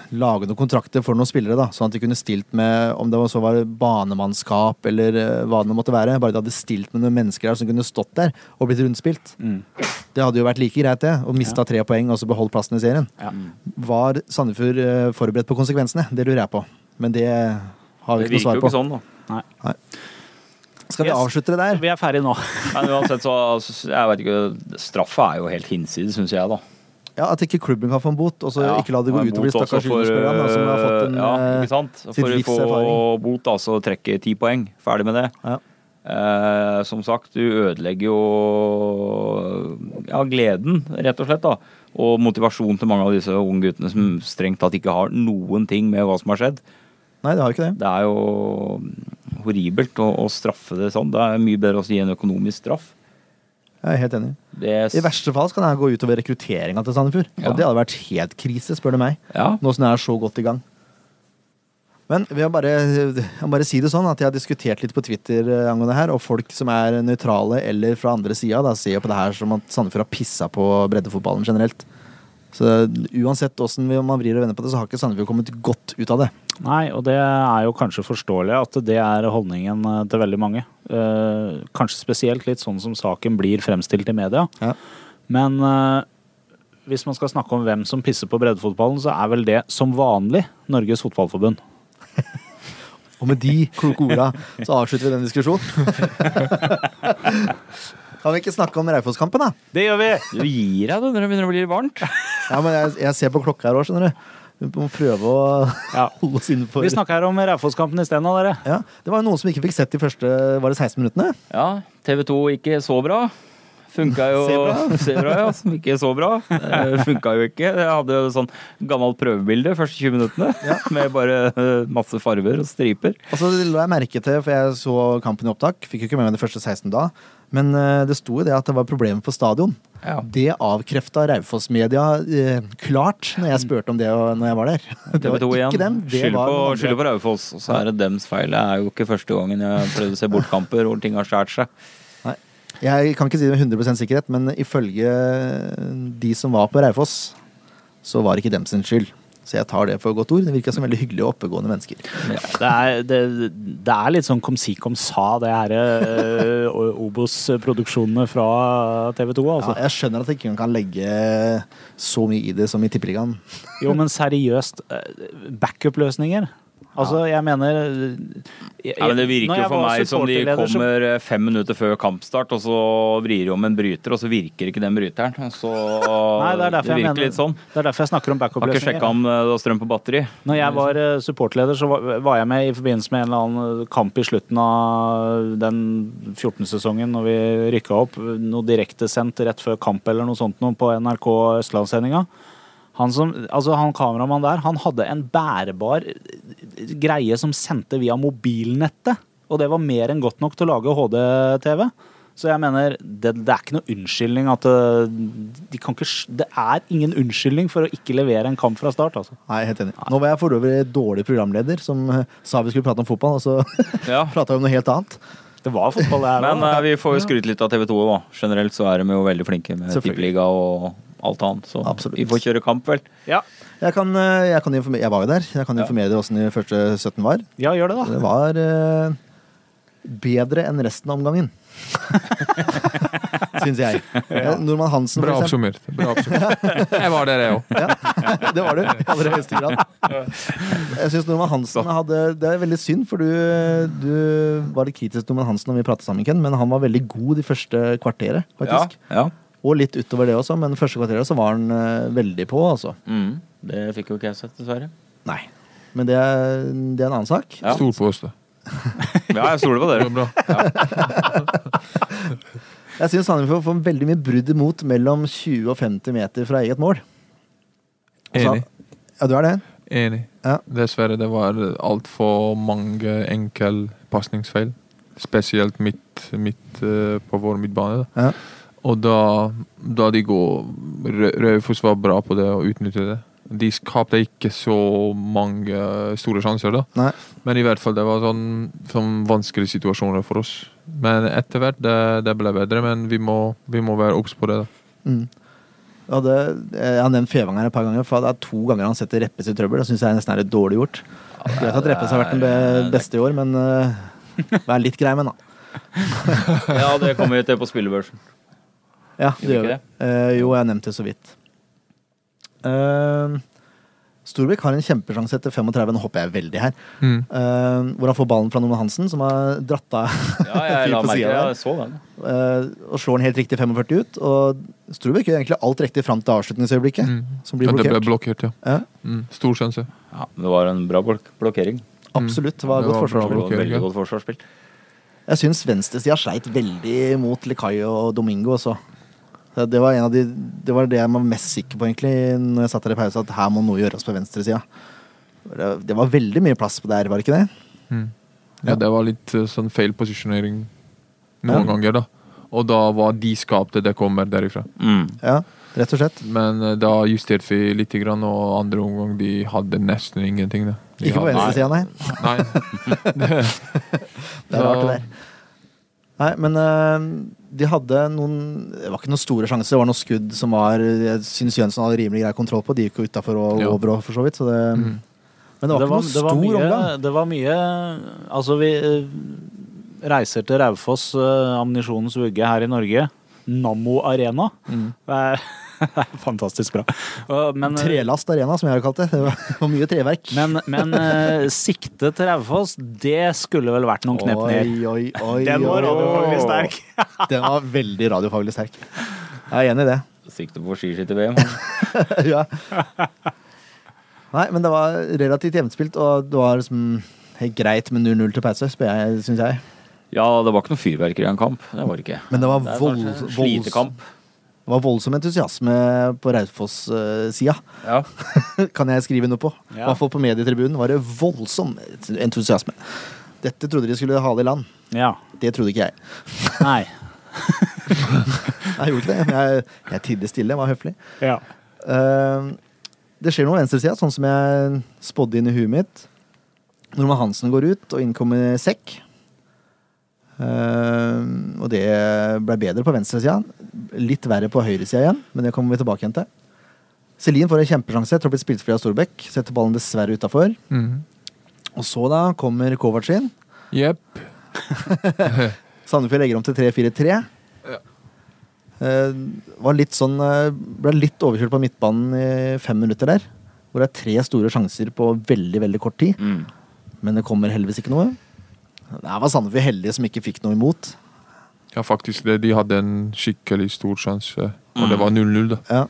Speaker 1: lage noen kontrakter for noen spillere, da. Sånn at de kunne stilt med Om det var- så var banemannskap eller eh, hva det nå måtte være. Bare de hadde stilt med noen mennesker der som kunne stått der og blitt rundspilt.
Speaker 4: Mm.
Speaker 1: Det hadde jo vært like greit, det. Å mista tre poeng og så beholdt plassen i serien.
Speaker 2: Ja.
Speaker 1: Var Sandefjord eh, forberedt på konsekvensene? Det lurer jeg på. Men det har vi
Speaker 4: Det
Speaker 1: ikke noe
Speaker 4: virker
Speaker 1: svar
Speaker 4: jo
Speaker 1: på.
Speaker 4: ikke sånn, da.
Speaker 1: Skal vi
Speaker 2: Yes.
Speaker 1: avslutte det der?
Speaker 2: Vi er ferdige nå.
Speaker 4: Men uansett, så altså, jeg vet ikke, Straffa er jo helt hinsides, syns jeg, da.
Speaker 1: Ja, At ikke klubben kan få en bot, og så ikke la det gå
Speaker 4: og en
Speaker 1: utover de
Speaker 4: bot
Speaker 1: stakkars
Speaker 4: også for,
Speaker 1: juniorspillerne da, som har fått en
Speaker 4: Ja,
Speaker 1: eh,
Speaker 4: ikke sant?
Speaker 1: sitt
Speaker 4: For å
Speaker 1: livs
Speaker 4: få
Speaker 1: erfaring.
Speaker 4: bot, da, så trekke ti poeng. Ferdig med det.
Speaker 1: Ja.
Speaker 4: Eh, som sagt, du ødelegger jo ja, gleden, rett og slett, da. Og motivasjonen til mange av disse unge guttene som strengt tatt ikke har noen ting med hva som har skjedd.
Speaker 1: Nei, det har jo ikke det.
Speaker 4: Det er jo horribelt å, å straffe det sånn. Det er mye bedre å gi en økonomisk straff.
Speaker 1: Jeg er helt enig.
Speaker 4: Det,
Speaker 1: I verste fall skal det her gå utover rekrutteringa til Sandefjord.
Speaker 4: Ja.
Speaker 1: Og det hadde vært helt krise, spør du meg.
Speaker 4: ja.
Speaker 1: Nå som det er så godt i gang. Men vi har bare, jeg må bare si det sånn at jeg har diskutert litt på Twitter eh, angående det her, og folk som er nøytrale eller fra andre sida, da ser jo på det her som at Sandefjord har pissa på breddefotballen generelt. Så uansett åssen man vrir og vender på det, så har ikke Sandefjord kommet godt ut av det.
Speaker 2: Nei, og det er jo kanskje forståelig at det er holdningen eh, til veldig mange. Eh, Kanskje spesielt litt sånn som saken blir fremstilt i media.
Speaker 1: Ja.
Speaker 2: Men eh, hvis man skal snakke om hvem som pisser på breddefotballen, så er vel det som vanlig Norges Fotballforbund.
Speaker 1: Og med de kloke orda så avslutter vi den diskusjonen. kan vi ikke snakke om Raufoss-kampen, da?
Speaker 2: Det gjør vi!
Speaker 4: Du gir deg du, når det begynner å bli varmt.
Speaker 1: Ja, men jeg, jeg ser på klokka her òg, skjønner du. Vi må prøve å
Speaker 2: Ja.
Speaker 1: holde oss innenfor.
Speaker 2: Vi snakker her om Raufoss-kampen isteden, dere.
Speaker 1: Ja, det var jo noen som ikke fikk sett de første var det 16 minuttene.
Speaker 4: Ja, TV 2 ikke så bra. Funka jo
Speaker 1: Sebra.
Speaker 4: Sebra, ja, som ikke så bra. Eh, Funka jo ikke. Jeg hadde jo sånn gammelt prøvebilde første 20 minuttene. Med bare eh, masse farver og striper.
Speaker 1: Og så la jeg merke til, for jeg så kampen i opptak, fikk jo ikke med meg de første 16 da, men eh, det sto jo det at det var problemer på stadion.
Speaker 4: Ja.
Speaker 1: Det avkrefta Raufoss-media eh, klart når jeg spurte om det og, når jeg var der. Det
Speaker 4: TV
Speaker 1: var
Speaker 4: 2 igjen.
Speaker 1: ikke dem, det
Speaker 4: Skylder
Speaker 1: var
Speaker 4: på,
Speaker 1: noen andre.
Speaker 4: skylder på Raufoss. Og så er det dems feil. Det er jo ikke første gangen jeg har prøvd å se bortkamper hvor ting har skåret seg.
Speaker 1: Nei. Jeg kan ikke si det med 100 sikkerhet, men ifølge de som var på Raufoss, så var det ikke dem sin skyld. Så jeg tar det for godt ord. Det virka som veldig hyggelige og oppegående mennesker.
Speaker 2: Det er, det, det er litt sånn kom si kom sa, det her eh, Obos-produksjonene fra TV 2,
Speaker 1: Ja,
Speaker 2: altså.
Speaker 1: jeg skjønner at ikke hun kan legge så mye i det som i Tippeligaen.
Speaker 2: Jo, men seriøst. eh, Backup-løsninger? Altså, jeg mener jeg-
Speaker 4: Ja, men det
Speaker 2: når
Speaker 4: virker
Speaker 2: jeg
Speaker 4: jo for
Speaker 2: var
Speaker 4: meg som de
Speaker 2: supporterleder, så-
Speaker 4: kommer eh, fem minutter før kampstart, og så vrir de om en bryter, og så virker ikke den bryteren. Og Så
Speaker 2: Nei, det, er derfor jeg
Speaker 4: virker
Speaker 2: mener,
Speaker 4: litt sånn.
Speaker 2: det er derfor jeg snakker om
Speaker 4: Har ikke sjekka
Speaker 2: backup-løsninger.
Speaker 4: om eh, det var strøm på batteri.
Speaker 2: Når jeg var eh, supportleder, så var- var jeg med i forbindelse med en eller annen eh, kamp i slutten av den 14-sesongen når vi rykka opp. Noe direktesendt rett før kamp eller noe sånt noe på NRK Østlandssendinga. Han, som, altså han eh, kameramannen der, han hadde en bærbar greie som sendte via mobilnettet. og det var mer enn godt nok til å lage HD-TV. Så jeg mener, det, det er ikke noe unnskyldning at eh, de kan ikke, s- Det er ingen unnskyldning for å ikke levere en kamp fra start, altså.
Speaker 1: Nei, helt enig. Nå var jeg for øvrig dårlig programleder som eh, sa vi skulle prate om fotball, og så
Speaker 4: Ja.
Speaker 1: prata vi om noe helt annet.
Speaker 2: Det var fotball, det her.
Speaker 4: Men
Speaker 2: også.
Speaker 4: eh, vi får jo skryte litt av TV 2 da. Generelt så er de jo veldig flinke med
Speaker 1: Selvfølgelig.
Speaker 4: tippeliga og alt annet. Så
Speaker 1: Absolutt.
Speaker 4: vi får kjøre kamp, vel.
Speaker 2: ja.
Speaker 1: Jeg, kan, eh, jeg, kan informere, jeg var jo der. Jeg kan
Speaker 4: Ja.
Speaker 1: informere dere åssen de første 17 var.
Speaker 2: ja, gjør det,
Speaker 1: Det
Speaker 2: da.
Speaker 1: var eh, bedre enn resten av omgangen. Syns jeg. Eh, Normann Hansen,
Speaker 5: Bra
Speaker 1: for eksempel.
Speaker 5: oppsummert. Bra oppsummert. Jeg var der, jeg òg.
Speaker 1: Ja, det var du. i Aller høyeste grad. Jeg syns Norman Hansen hadde Det er veldig synd, for du, du var litt kritisk til Norman Hansen når vi pratet sammen, Ken, men han var veldig god de første kvarteret,
Speaker 4: Ja.
Speaker 1: faktisk.
Speaker 4: ja.
Speaker 1: Og litt utover det også, men første kvarteret så var han eh, veldig på, altså.
Speaker 4: Mm. Det fikk jo ikke jeg sett, dessverre.
Speaker 1: Nei. Men det er, det er en annen sak.
Speaker 4: Ja,
Speaker 5: Stol på oss, da.
Speaker 4: ja jeg stoler på
Speaker 5: Det
Speaker 4: dere.
Speaker 5: var bra.
Speaker 1: Jeg syns Sandefjord får veldig mye brudd imot mellom 20 og 50 meter fra eget mål. Og så-
Speaker 5: Enig.
Speaker 1: Altså, Ja, du er det?
Speaker 5: Enig.
Speaker 1: Ja.
Speaker 5: Dessverre, det var altfor mange enkel pasningsfeil. Spesielt midt, midt eh, på vår midtbane. Da.
Speaker 1: Ja.
Speaker 5: Og da, da de går Rø- Raufoss var bra på det og utnyttet det. De skapte ikke så mange store sjanser, da.
Speaker 1: Nei.
Speaker 5: Men i hvert fall, det var sånn, sånn vanskelige situasjoner for oss. Men etter hvert det, det ble bedre, men vi må, vi må være obs på det. da.
Speaker 1: Mm. Ja, det, jeg har nevnt Fevang her et par ganger, for det er to ganger han setter Reppes i trøbbel. Det syns jeg nesten er litt dårlig gjort. Greit at Reppes har vært den be- beste i år, men eh, vær litt grei med den, da.
Speaker 4: Ja, det kommer vi til på spillebørsen.
Speaker 1: Ja, det
Speaker 4: Gjorde
Speaker 1: gjør vi.
Speaker 4: ikke
Speaker 1: Eh, jo, jeg nevnte det så vidt. Eh, Storbekk har en kjempesjanse etter 35, nå hopper jeg veldig her,
Speaker 5: Mm.
Speaker 1: eh, hvor han får ballen fra Norman Hansen, som har dratt av
Speaker 4: Ja, jeg
Speaker 1: Fyr
Speaker 4: la
Speaker 1: på
Speaker 4: merke
Speaker 1: siden der.
Speaker 4: jeg så den.
Speaker 1: eh, og slår den helt riktig 45 ut. Og Storbekk gjør egentlig alt riktig fram til avslutningsøyeblikket,
Speaker 5: Mm.
Speaker 1: som blir
Speaker 5: Ja, det ble
Speaker 1: blokkert.
Speaker 5: blokkert, ja.
Speaker 1: Ja,
Speaker 5: Mm. Stor sjanse.
Speaker 4: Ja, det var en bra blok blokkering.
Speaker 1: absolutt. Det var
Speaker 5: Mm.
Speaker 1: godt
Speaker 5: Det var bra
Speaker 1: forsvarsspill.
Speaker 4: Det var
Speaker 5: Blokkering,
Speaker 4: et veldig
Speaker 5: ja.
Speaker 4: godt forsvarsspill.
Speaker 1: Jeg syns venstresida sleit veldig mot Likai og Domingo også. Det var, en av de, det var det jeg var mest sikker på egentlig Når jeg satt her i pause, at her må noe gjøres på venstresida. Det, det var veldig mye plass på der, var det ikke det?
Speaker 5: Ja, det var litt eh, sånn feil posisjonering noen ganger, da. Og da var de skapte, det kommer derifra.
Speaker 4: Mm.
Speaker 1: Ja, rett og slett.
Speaker 5: Men eh, da justerte vi litt, grann, og andre omgang de hadde nesten ingenting. Da. De
Speaker 1: Ikke på
Speaker 5: hadde-
Speaker 1: venstresida, nei.
Speaker 5: Nei.
Speaker 1: Det er rart,
Speaker 5: Ja.
Speaker 1: det der. Nei, men eh, de hadde noen Det var ikke noen store sjanser. Det var noen skudd som var Jeg syns Jønsson hadde rimelig grei kontroll på. De gikk jo utafor og
Speaker 5: Ja.
Speaker 1: over òg, for så vidt. Så det,
Speaker 5: Mm.
Speaker 1: Men det var, ikke noen
Speaker 2: det var
Speaker 1: stor
Speaker 2: mye,
Speaker 1: omgang.
Speaker 2: Det var mye Altså, vi eh, reiser til Raufoss, eh, ammunisjonens vugge her i Norge. Nammo Arena.
Speaker 1: Mm.
Speaker 2: Det er, det er fantastisk bra. Og- Men, eh,
Speaker 1: Trelast Arena, som jeg har kalt det. Det var- det var mye treverk.
Speaker 2: men, men eh, sikte til Raufoss, det skulle vel vært noen knep ned.
Speaker 1: Oi, oi, oi,
Speaker 2: Den var
Speaker 1: oi, oi.
Speaker 2: radiofaglig sterk.
Speaker 1: Den var veldig radiofaglig sterk. Jeg er enig i det.
Speaker 4: Sikte på skiskytter-VM.
Speaker 1: ja. Nei, men det var relativt jevnspilt, og det var liksom helt greit med 0-0 til pause, spør jeg, syns jeg.
Speaker 4: Ja, det var ikke noe fyrverkeri i en kamp. Det var det ikke.
Speaker 1: Men det var
Speaker 4: er
Speaker 1: vold-
Speaker 4: kanskje en
Speaker 1: volds-
Speaker 4: Slitekamp.
Speaker 1: Det var voldsom entusiasme på Raufoss-sida,
Speaker 4: Ja.
Speaker 1: kan jeg skrive noe på. I
Speaker 2: Ja.
Speaker 1: hvert fall på medietribunen var det voldsom entusiasme. Dette trodde de skulle hale i land.
Speaker 2: Ja.
Speaker 1: Det trodde ikke jeg.
Speaker 2: Nei.
Speaker 1: Jeg gjorde ikke det. men Jeg, jeg tidde stille, var høflig.
Speaker 2: Ja.
Speaker 1: Eh, det skjer noe på venstresida, sånn som jeg spådde inn i huet mitt. Norman Hansen går ut, og inn kommer Sekk. Eh, og det ble bedre på venstresida. Litt verre på høyresida igjen, men det kommer vi tilbake igjen til. Selin får en kjempesjanse etter å ha blitt spilt fri av Storbekk. Setter ballen dessverre utafor.
Speaker 5: Mm.
Speaker 1: Og så da kommer Kovac inn.
Speaker 5: Jepp.
Speaker 1: Sandefjord legger om til 3-4-3. Eh, var litt sånn eh, Ble litt overkjørt på midtbanen i fem minutter der. Hvor det er tre store sjanser på veldig veldig kort tid.
Speaker 4: Mm.
Speaker 1: Men det kommer heldigvis ikke noe. Der var Sandefjord heldige som ikke fikk noe imot.
Speaker 5: Ja, faktisk det. De hadde en skikkelig stor sjanse, og det var 0-0, da.
Speaker 1: Ja.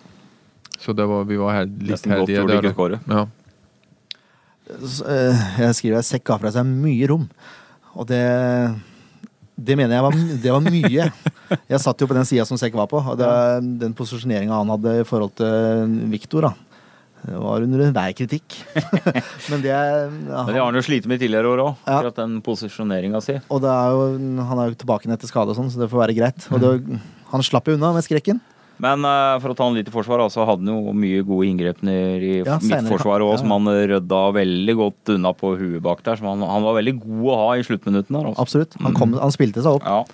Speaker 5: Så det var, vi var helt, litt
Speaker 4: Mm. Nesten godt
Speaker 5: heldige
Speaker 4: hvor de
Speaker 5: der.
Speaker 4: ikke skårer.
Speaker 5: Ja.
Speaker 1: Så, eh, jeg skriver at Sekk ga fra seg mye rom. Og det det mener jeg var, det var mye. Jeg satt jo på den sida som Sekk var på. Og det, den posisjoneringa han hadde i forhold til Viktor, eh, da. Det var under enhver kritikk. Men det er
Speaker 4: Men det har han jo slitt med i tidligere år òg,
Speaker 1: Ja.
Speaker 4: akkurat den posisjoneringa si.
Speaker 1: Og det er jo, han er jo tilbake igjen etter skade og sånn, så det får være greit. Og det, han slapp jo unna med skrekken.
Speaker 4: Men eh, for å ta han litt i forsvar, altså, hadde han jo mye gode inngrepner i
Speaker 1: Ja, senere.
Speaker 4: midtforsvaret òg,
Speaker 1: Ja.
Speaker 4: som han rydda veldig godt unna på huet bak der. Som han, han var veldig god å ha i sluttminuttene der. Altså.
Speaker 1: Absolutt. Han, kom, han spilte seg opp.
Speaker 4: Ja.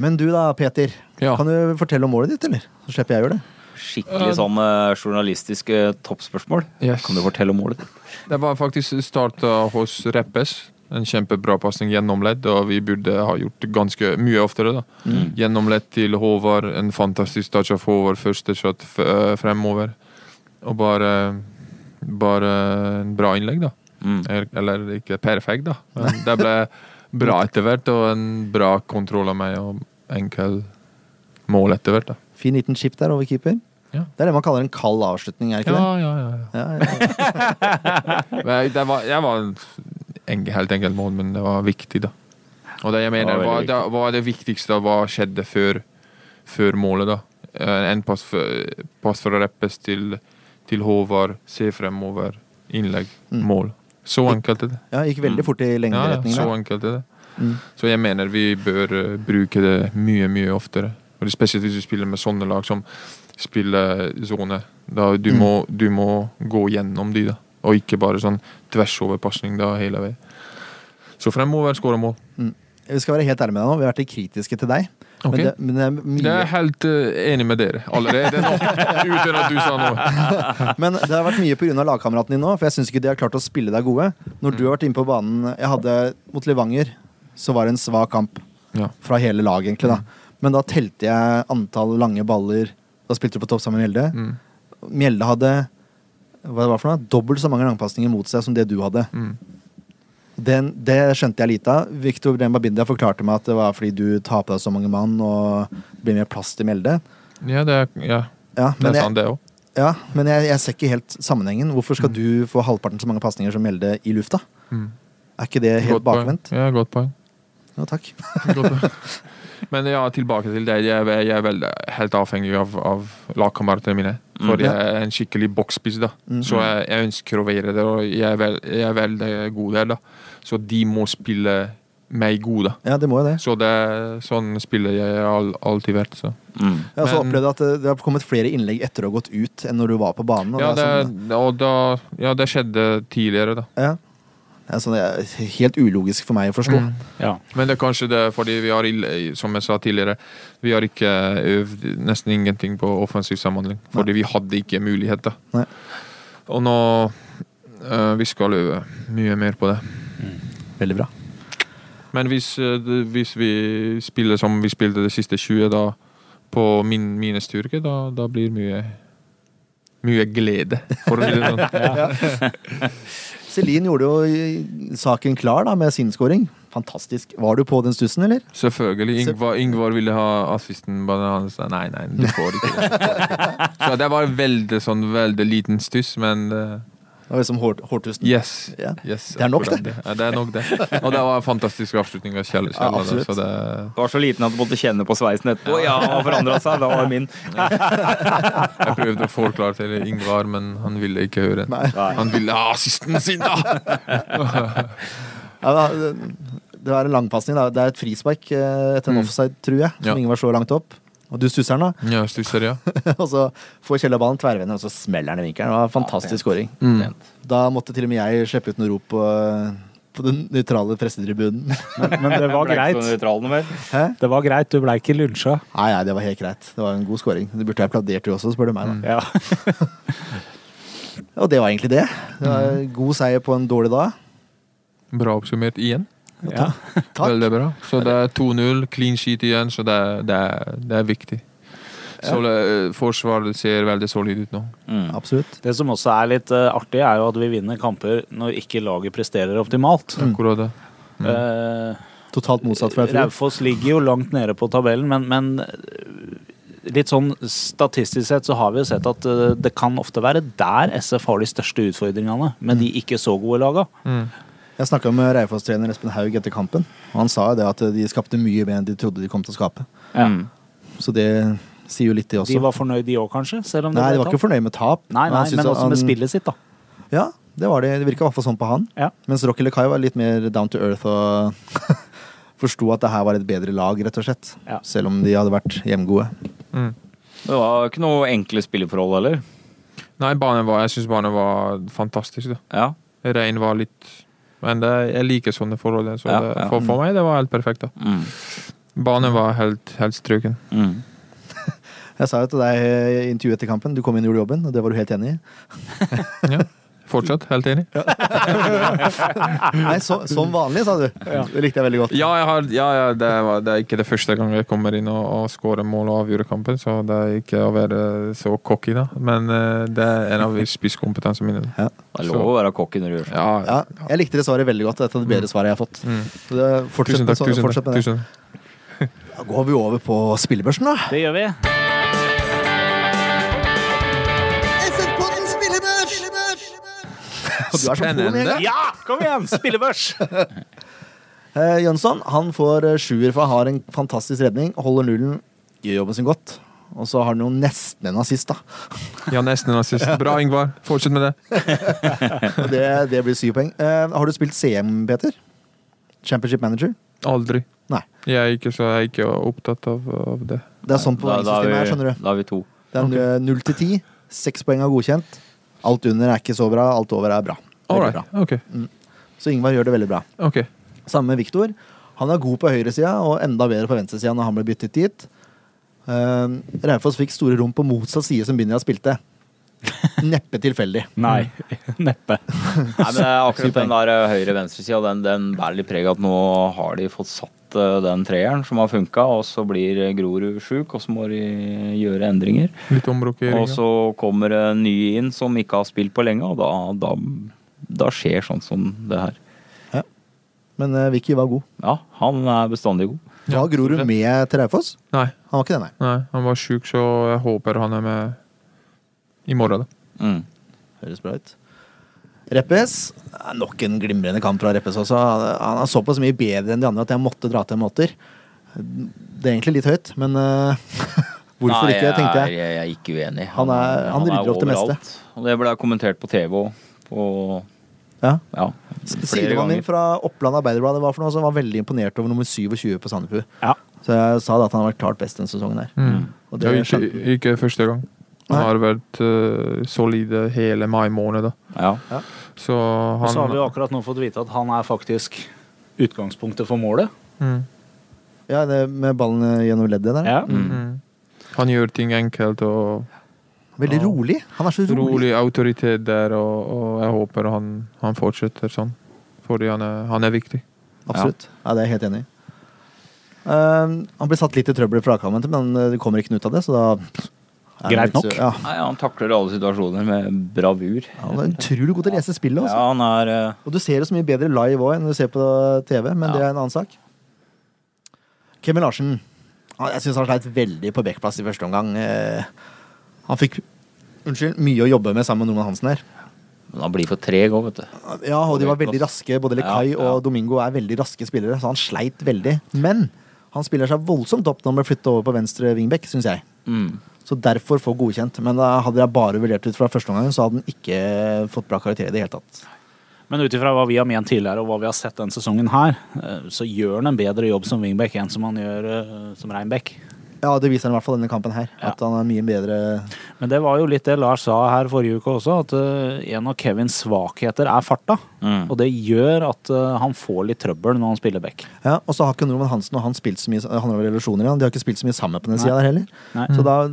Speaker 1: Men du da, Peter.
Speaker 5: Ja.
Speaker 1: Kan du fortelle om målet ditt, eller? Så slipper jeg å gjøre det.
Speaker 4: Skikkelig sånn eh, journalistisk eh, toppspørsmål.
Speaker 5: Yes.
Speaker 4: Kan du fortelle om målet?
Speaker 5: Det var faktisk starta hos Reppes. En kjempebra pasning gjennomledd, og vi burde ha gjort det ganske mye oftere. da.
Speaker 1: Mm.
Speaker 5: Gjennomledd til Håvard, en fantastisk touch av Håvard, første shot f øh, fremover. Og bare, bare en bra innlegg, da.
Speaker 4: Mm.
Speaker 5: Eller, eller ikke perfekt, da. Men det ble bra etter hvert, og en bra kontroll av meg, og enkel mål etter hvert. da.
Speaker 1: Fin liten chip der over keeper.
Speaker 5: Ja.
Speaker 1: Det er det man kaller en kald avslutning, er det ikke
Speaker 5: Ja, ja, ja. ja.
Speaker 1: det? Ja, ja.
Speaker 5: Men jeg, det var, jeg var en en helt enkelt mål, men det var viktig, da. Og det jeg mener,
Speaker 4: Det var
Speaker 5: var,
Speaker 4: veldig
Speaker 5: det, var det viktigste av hva skjedde før, før målet, da. Eh, En pass, f- pass fra Reppes til, til Håvard, se fremover, innlegg,
Speaker 1: Mm.
Speaker 5: mål. Så enkelt er det.
Speaker 1: ja gikk veldig fort i
Speaker 5: Ja, Mm. ja,
Speaker 1: lengderetningen.
Speaker 5: så
Speaker 1: der.
Speaker 5: enkelt er det.
Speaker 1: Mm.
Speaker 5: Så jeg mener vi bør eh, bruke det mye, mye oftere. Og det er Spesielt hvis du spiller med sånne lag som spiller sone. Da du,
Speaker 1: Mm.
Speaker 5: må, du må gå gjennom de da. Og ikke bare sånn tversoverpasning da hele veien. Så fremover skårer mål.
Speaker 1: Vi skal være helt ærlige med deg nå, vi har vært litt kritiske til deg.
Speaker 5: Ok.
Speaker 1: Men, det, men det er mye
Speaker 5: Jeg er helt eh, enig med dere allerede nå, uten at du sa noe.
Speaker 1: Men det har vært mye pga. lagkameraten din nå, for jeg syns ikke de har klart å spille deg gode. Når du har vært inne på banen Jeg hadde mot Levanger, så var det en svak kamp
Speaker 5: Ja.
Speaker 1: fra hele laget, egentlig,
Speaker 5: Mm.
Speaker 1: da. Men da telte jeg antall lange baller. Da spilte du på topp sammen med Mjelde.
Speaker 5: Mm.
Speaker 1: Mjelde hadde hva det var for noe? dobbelt så mange langpasninger mot seg som det du hadde.
Speaker 5: Mm.
Speaker 1: Den, det skjønte jeg lite av. Victor Bremba Bindia forklarte meg at det var fordi du tar på deg så mange mann, og det blir mer plass til Mjelde.
Speaker 5: Ja, det er, ja,
Speaker 1: Ja,
Speaker 5: det
Speaker 1: men
Speaker 5: er
Speaker 1: jeg,
Speaker 5: sant, det òg.
Speaker 1: ja, men jeg, jeg ser ikke helt sammenhengen. Hvorfor skal du få halvparten så mange pasninger som Mjelde i lufta?
Speaker 5: Mm.
Speaker 1: Er ikke det helt
Speaker 5: Godt poeng.
Speaker 1: bakvendt?
Speaker 5: Ja, godt poeng.
Speaker 1: Ja, takk.
Speaker 5: Men ja, tilbake til det. Jeg, er- jeg er vel helt avhengig av, av lagkameratene mine. For
Speaker 1: Mm. Ja.
Speaker 5: jeg er en skikkelig boksspiss, da.
Speaker 1: Mm.
Speaker 5: Så jeg, jeg ønsker å være der, og jeg er, vel, jeg er veldig god der, da. Så de må spille meg god, da.
Speaker 1: Ja, det må jo det.
Speaker 5: Så det er sånn spiller jeg all, alltid vært. Så.
Speaker 4: Mm.
Speaker 1: Jeg har også
Speaker 5: Men-
Speaker 1: opplevd at det, det har kommet flere innlegg etter å ha gått ut enn når du var på banen. Og
Speaker 5: Ja,
Speaker 1: det
Speaker 5: det,
Speaker 1: er sånn,
Speaker 5: og da, ja, det skjedde tidligere, da.
Speaker 1: ja. Det er sånn, det er helt ulogisk for meg å forstå.
Speaker 5: Mm.
Speaker 2: Ja.
Speaker 5: Men det er kanskje det fordi vi har, ill- som jeg sa tidligere, vi har ikke eh, øvd nesten ingenting på offensiv samhandling. Fordi vi hadde ikke muligheter.
Speaker 1: Nei.
Speaker 5: Og nå eh, Vi skal øve mye mer på det.
Speaker 1: Veldig bra.
Speaker 5: Men hvis, eh, det- hvis vi spiller som vi spilte de siste 20, da på min, mine styrker, da, da blir mye mye glede, for å si det sånn.
Speaker 1: Celine gjorde jo saken klar da, med sin scoring. Fantastisk. Var du på den stussen, eller?
Speaker 5: Selvfølgelig. Ingvar, Ingvar ville ha assisten, men han sa nei, nei, du får ikke det. Så det var veldig sånn veldig liten stuss, men eh,
Speaker 1: Det var liksom hår, hårtusten.
Speaker 5: yes.
Speaker 1: Ja.
Speaker 5: yes.
Speaker 1: Det er nok,
Speaker 5: akkurat Ja, det er nok det. Og det var en fantastisk avslutning av Kjell.
Speaker 1: Ja,
Speaker 5: Kjell da,
Speaker 1: absolutt.
Speaker 5: så det,
Speaker 4: Det var så liten at du måtte kjenne på sveisen etterpå. Ja, han har forandra seg. Da var det min.
Speaker 5: jeg prøvde å forklare til Ingvar, men han ville ikke høre.
Speaker 1: Nei.
Speaker 5: Han ville ha assisten sin, da!
Speaker 1: Ja, da, det- det er en langpasning. da. Det er et frispark eh, etter en
Speaker 5: Mm.
Speaker 1: offside, tror jeg, som
Speaker 5: Ja.
Speaker 1: Ingvar så langt opp. Og du stusser den, da.
Speaker 5: Ja, stusser, ja.
Speaker 1: og så får Kjell ballen, tverrvender, og så smeller han i vinkelen. Det var en fantastisk scoring.
Speaker 5: Mm.
Speaker 1: Da måtte til og med jeg slippe ut noen rop på, på den nøytrale pressetribunen.
Speaker 2: Men, men det var
Speaker 4: Ble ikke så
Speaker 2: greit.
Speaker 4: nøytral noe mer.
Speaker 1: Hæ?
Speaker 2: Det var greit, du blei ikke lunsja.
Speaker 1: Nei, nei, det var helt greit. Det var en god scoring. Det burde jeg applaudert du også, spør du meg. da.
Speaker 2: Ja.
Speaker 1: Og det var egentlig det. det var god seier på en dårlig dag.
Speaker 5: Bra oppsummert igjen.
Speaker 2: Ja.
Speaker 1: Takk.
Speaker 5: Veldig bra. Så det er 2-0, clean sheet igjen, så det, er- det, er- det er viktig. Så det, forsvaret ser veldig solid ut nå.
Speaker 4: Mm.
Speaker 1: Absolutt.
Speaker 2: Det som også er litt eh, artig, er jo at vi vinner kamper når ikke laget presterer optimalt.
Speaker 5: Akkurat det.
Speaker 1: Mm.
Speaker 2: Eh,
Speaker 1: Totalt motsatt fra i fjor.
Speaker 2: Raufoss ligger jo langt nede på tabellen, men, men eh, litt sånn statistisk sett så har vi jo sett at eh, det kan ofte være der SF har de største utfordringene, med
Speaker 1: Mm.
Speaker 2: de ikke så gode laga.
Speaker 1: Jeg snakka med Raufoss-trener Espen Haug etter kampen, og han sa jo det at de skapte mye mer enn de trodde de kom til å skape.
Speaker 2: Ja.
Speaker 4: Mm.
Speaker 1: Så det Sier jo litt, det
Speaker 2: De
Speaker 1: også.
Speaker 2: var fornøyd de òg, kanskje? Selv om det
Speaker 1: Nei, de
Speaker 2: ble
Speaker 1: var ikke
Speaker 2: tapt.
Speaker 1: fornøyd med tap.
Speaker 2: Nei, nei,
Speaker 1: han syntes
Speaker 2: men
Speaker 1: at
Speaker 2: også med
Speaker 1: han-
Speaker 2: spillet sitt, da.
Speaker 1: Ja, det var det. Det virka i hvert fall sånn på han.
Speaker 2: Ja.
Speaker 1: Mens Rocky LeCai var litt mer down to earth og forsto at det her var et bedre lag, rett og slett.
Speaker 2: Ja.
Speaker 1: Selv om de hadde vært hjemgode.
Speaker 5: Mm.
Speaker 4: Det var ikke noe enkle spilleforhold heller.
Speaker 5: Nei, banen var, jeg syns banen var fantastisk. da.
Speaker 4: Ja.
Speaker 5: Regn var litt Men det, jeg liker sånne forhold. Så
Speaker 4: Ja,
Speaker 5: det,
Speaker 4: ja.
Speaker 5: for, for meg det var helt perfekt. da.
Speaker 4: Mm.
Speaker 5: Banen var helt, helt strøken.
Speaker 4: Mm.
Speaker 1: Jeg sa jo til deg i intervjuet etter kampen, du kom inn og gjorde jobben, og det var du helt enig i. Mm.
Speaker 5: Ja. Fortsatt helt enig.
Speaker 1: Nei, så, som vanlig, sa du. Det likte jeg veldig godt.
Speaker 5: Ja, jeg har, ja, ja det, var, det er ikke det første gang jeg kommer inn og, og skårer mål og avgjør kampen, så det er ikke å være så cocky, da. Men eh, det er en av spisskompetansene mine.
Speaker 1: Ja.
Speaker 4: Det er lov å være kokk når du gjør sånn.
Speaker 5: Ja,
Speaker 1: Ja, jeg likte det svaret veldig godt. Dette er det bedre svaret jeg har fått.
Speaker 5: Mm.
Speaker 1: Så det, fortsett,
Speaker 5: Tusen
Speaker 1: med
Speaker 5: takk.
Speaker 1: så,
Speaker 5: Tusen
Speaker 1: fortsett
Speaker 5: takk.
Speaker 1: med det.
Speaker 5: Tusen.
Speaker 1: Da går vi over på spillebørsen, da.
Speaker 2: Det gjør vi.
Speaker 1: Og Du er som Polen,
Speaker 5: Spennende.
Speaker 1: egentlig.
Speaker 2: Ja, kom igjen! Spillebørs!
Speaker 1: Eh, Jønsson han får eh, sjuer, for han har en fantastisk redning. Holder nullen, gjør jobben sin godt. Og så har han jo nesten en assist, da.
Speaker 5: Ja, nesten en assist. Bra, Ingvar. Fortsett med det.
Speaker 1: Og Det, det blir syv poeng. Eh, har du spilt CM, Peter? Championship Manager?
Speaker 5: Aldri.
Speaker 1: Nei.
Speaker 5: Jeg er ikke så jeg er ikke opptatt av, av det.
Speaker 1: Det er sånn på
Speaker 4: Da, da,
Speaker 1: poengsystemet her,
Speaker 4: er
Speaker 1: skjønner
Speaker 4: vi,
Speaker 1: du.
Speaker 4: da er vi to.
Speaker 1: Det er eh, null til ti. Seks poeng er godkjent. Alt under er ikke så bra, alt over er bra. Veldig
Speaker 5: All right.
Speaker 1: bra. Mm.
Speaker 5: Ok.
Speaker 1: Så Ingvar gjør det veldig bra.
Speaker 5: ok.
Speaker 1: Samme med Viktor. Han er god på høyresida og enda bedre på venstresida når han ble byttet dit. Uh, Raufoss fikk store rom på motsatt side som Binja spilte. Neppe tilfeldig.
Speaker 2: Nei, neppe.
Speaker 4: Nei, men det er
Speaker 1: poeng.
Speaker 4: akkurat den der eh, høyre-venstresida, den, den bærer litt preg av at nå har de fått satt eh, den treeren som har funka, og så blir eh, Grorud sjuk, og så må de gjøre endringer.
Speaker 5: Litt omrokering.
Speaker 4: Og så kommer det en ny inn som ikke har spilt på lenge, og da, da, da skjer sånn som det her.
Speaker 1: Men eh, Vicky var god.
Speaker 4: Ja, han er bestandig god.
Speaker 1: Var Grorud med til Raufoss?
Speaker 5: Nei,
Speaker 1: Han var ikke det, nei.
Speaker 5: nei, han var sjuk, så jeg håper han er med i morgen. da.
Speaker 4: Mm.
Speaker 1: Høres bra ut. Reppes. eh, Nok en glimrende kamp fra Reppes også. Han- Han er såpass mye bedre enn de andre at jeg måtte dra til en måter. Det er egentlig litt høyt, men eh, hvorfor
Speaker 4: Nei,
Speaker 1: ikke, tenkte jeg.
Speaker 4: Jeg er, jeg er ikke uenig.
Speaker 1: Han er- han rydder opp det
Speaker 4: overalt.
Speaker 1: meste.
Speaker 4: Og det ble kommentert på TV òg. Og
Speaker 1: Ja.
Speaker 4: ja, flere
Speaker 1: Sidemannen min
Speaker 4: ganger.
Speaker 1: fra Oppland Arbeiderblad det var for noe, som var veldig imponert over nummer 27 på Sandefjord.
Speaker 2: Ja.
Speaker 1: Så jeg sa da at han har vært klart best denne sesongen her. Og
Speaker 5: Det
Speaker 1: det
Speaker 5: er jo
Speaker 1: skjønte
Speaker 5: ikke, ikke første gang. Han
Speaker 1: Nei.
Speaker 5: har vært eh, solide hele mai måned. da.
Speaker 4: Ja.
Speaker 5: Så
Speaker 2: Og så har
Speaker 5: han
Speaker 2: vi jo akkurat nå fått vite at han er faktisk utgangspunktet for målet.
Speaker 5: mm,
Speaker 1: Ja, det med ballen gjennom leddet der.
Speaker 2: Ja.
Speaker 5: mm. Han gjør ting enkelt og
Speaker 1: Veldig
Speaker 5: Ja.
Speaker 1: rolig. Han er så rolig.
Speaker 5: rolig autoritet der, og, og jeg håper han, han fortsetter sånn. Fordi han er, han er viktig.
Speaker 1: Absolutt. Ja. det er jeg helt enig i. Ehm, han ble satt litt i trøbbel i flakammen, men eh, det kommer ikke noe ut av det, så da er det
Speaker 2: Greit
Speaker 1: litt-
Speaker 2: nok.
Speaker 1: Ja.
Speaker 4: Nei, han takler alle situasjoner med bravur.
Speaker 1: Han er utrolig god til å lese spillet.
Speaker 4: Ja,
Speaker 1: Også.
Speaker 4: han er eh,
Speaker 1: Og du ser det så mye bedre live òg enn du ser på TV, men
Speaker 4: Ja.
Speaker 1: det er en annen sak. Kevin Larsen. han- Jeg syns han sleit veldig på backplass i første omgang. Eh, Han fikk unnskyld, mye å jobbe med sammen med Norman Hansen her.
Speaker 4: Men han blir for treg òg, vet du.
Speaker 1: Ja, og de var veldig
Speaker 4: Backplass.
Speaker 1: raske. Både Lekai
Speaker 4: Ja, ja.
Speaker 1: og Domingo er veldig raske spillere, så han sleit veldig. Men han spiller seg voldsomt opp når han ble flyttet over på venstre wingback, syns jeg.
Speaker 4: Mm.
Speaker 1: Så derfor få godkjent. Men da hadde jeg bare vurdert ut fra første omgang, så hadde han ikke fått bra karakter i det hele tatt.
Speaker 2: Men ut ifra hva vi har ment tidligere, og hva vi har sett denne sesongen her, eh, så gjør han en bedre jobb som wingback enn som han gjør eh, som reinback.
Speaker 1: Ja, det viser han i hvert fall denne kampen her.
Speaker 2: Ja.
Speaker 1: At han er mye bedre
Speaker 2: Men det var jo litt det Lars sa her forrige uke også, at eh, en av Kevins svakheter er farta.
Speaker 4: Mm.
Speaker 2: Og det gjør at eh, han får litt trøbbel når han spiller back.
Speaker 1: Ja, og så har ikke Norman Hansen og han spilt så mye Han har vel relasjoner igjen, de har ikke spilt så mye sammen på den sida der heller.
Speaker 2: Nei.
Speaker 1: Så da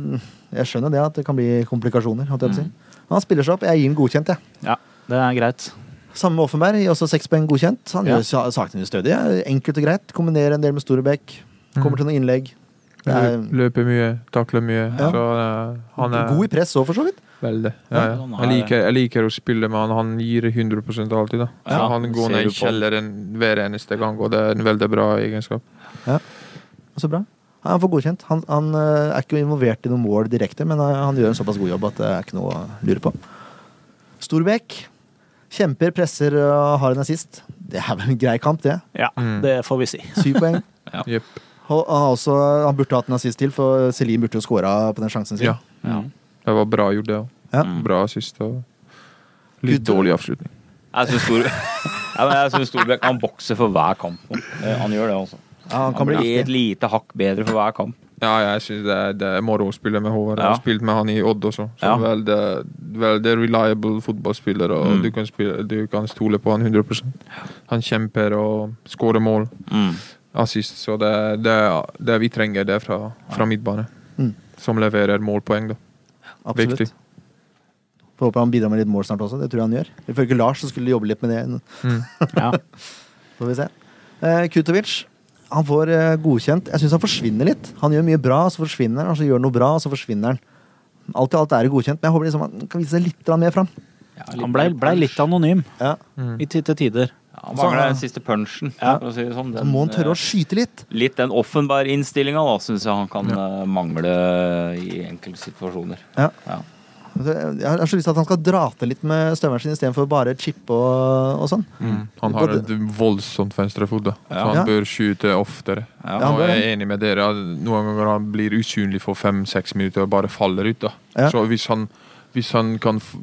Speaker 1: Jeg skjønner det at det kan bli komplikasjoner. holdt jeg på å
Speaker 2: Mm.
Speaker 1: si. Men han spiller seg opp. Jeg gir ham godkjent, jeg.
Speaker 2: Ja, det er greit.
Speaker 1: Samme med Offenberg, gir også seks poeng godkjent. Han
Speaker 2: Ja.
Speaker 1: gjør sa- sakene stødige. Enkelt og greit. Kombinerer en del med Storebekk.
Speaker 5: Mm.
Speaker 1: Kommer til noen innlegg. Det er
Speaker 5: Lø- Løper mye, takler mye.
Speaker 1: Ja.
Speaker 5: Så eh, han er
Speaker 1: god i press òg, for så vidt.
Speaker 5: Veldig. Ja,
Speaker 4: Ja,
Speaker 5: ja.
Speaker 4: han er-
Speaker 5: Jeg, liker, jeg liker å spille med han. Han gir 100 alltid. da. Så
Speaker 4: Ja,
Speaker 5: han går
Speaker 4: ser
Speaker 5: ned
Speaker 4: du
Speaker 5: i
Speaker 4: på.
Speaker 5: kjelleren hver eneste gang, og det er en veldig bra egenskap.
Speaker 1: Så bra. Ja, han får godkjent. Han, han eh, er ikke involvert i noen mål direkte, men eh, han gjør en såpass god jobb at det er ikke noe å lure på. Storbekk kjemper, presser eh, og har en assist. Det er vel en grei kamp, det.
Speaker 2: Ja,
Speaker 5: Mm.
Speaker 2: det får vi si.
Speaker 1: Syv poeng.
Speaker 5: Jepp.
Speaker 1: Og, og også, han burde hatt en assist til, for Celine burde jo skåra på den sjansen sin.
Speaker 5: Ja. Det var bra gjort, det òg.
Speaker 1: Ja.
Speaker 4: Mm.
Speaker 5: Bra sist. Og litt dårlig avslutning.
Speaker 4: Jeg syns Stor... ja, men jeg synes Storbekk han bokser for hver kamp. nå. Eh, Han gjør det, altså.
Speaker 1: Ja, han kan
Speaker 4: Han
Speaker 1: bli
Speaker 4: blir et
Speaker 1: giftig.
Speaker 4: lite hakk bedre for hver kamp.
Speaker 5: Ja, jeg syns det, er- det er moro å spille med Håvard. Jeg
Speaker 4: Ja.
Speaker 5: har spilt med han i Odd også. Så
Speaker 4: Ja.
Speaker 5: vel, det, vel, det er reliable fotballspiller, og
Speaker 4: Mm.
Speaker 5: du, kan spille, du kan stole på han 100 Han kjemper og skårer mål,
Speaker 1: Mm.
Speaker 5: assist, så det er det, er- det vi trenger det fra, fra midtbane.
Speaker 1: Mm.
Speaker 5: Som leverer målpoeng, da.
Speaker 1: Absolutt.
Speaker 5: Viktig.
Speaker 1: Får håpe han bidrar med litt mål snart også. Det tror jeg han gjør. Ifølge Lars så skulle de jobbe litt med det.
Speaker 2: Ja.
Speaker 1: Får vi se. Eh, Kutovic han får eh, godkjent. Jeg syns han forsvinner litt. Han gjør mye bra, så forsvinner han. og Så gjør han noe bra, og så forsvinner han. Alt i alt er det godkjent, men jeg håper liksom han kan vise seg litt grann mer fram.
Speaker 2: Han blei ble litt anonym
Speaker 1: Ja.
Speaker 2: i ti- til tider.
Speaker 4: Ja, Han mangler den siste punchen, for å si det sånn.
Speaker 1: sånn- Så må han tørre å
Speaker 4: eh,
Speaker 1: skyte litt.
Speaker 4: Litt den Offenberg-innstillinga syns jeg han kan eh, mangle i enkelte situasjoner.
Speaker 1: Ja.
Speaker 4: Ja.
Speaker 1: Altså, Jeg har så lyst til at han skal dra til litt med støvelen sin istedenfor bare chippe og, og sånn.
Speaker 5: Mm. Han har et voldsomt venstrefot, da. Så han
Speaker 1: Ja.
Speaker 5: bør skyte oftere.
Speaker 1: Ja, han
Speaker 5: og
Speaker 1: bør
Speaker 5: jeg er enig med dere. at Noen ganger han blir usynlig for fem-seks minutter og bare faller ut. da.
Speaker 1: Ja.
Speaker 5: Så hvis han, hvis han kan f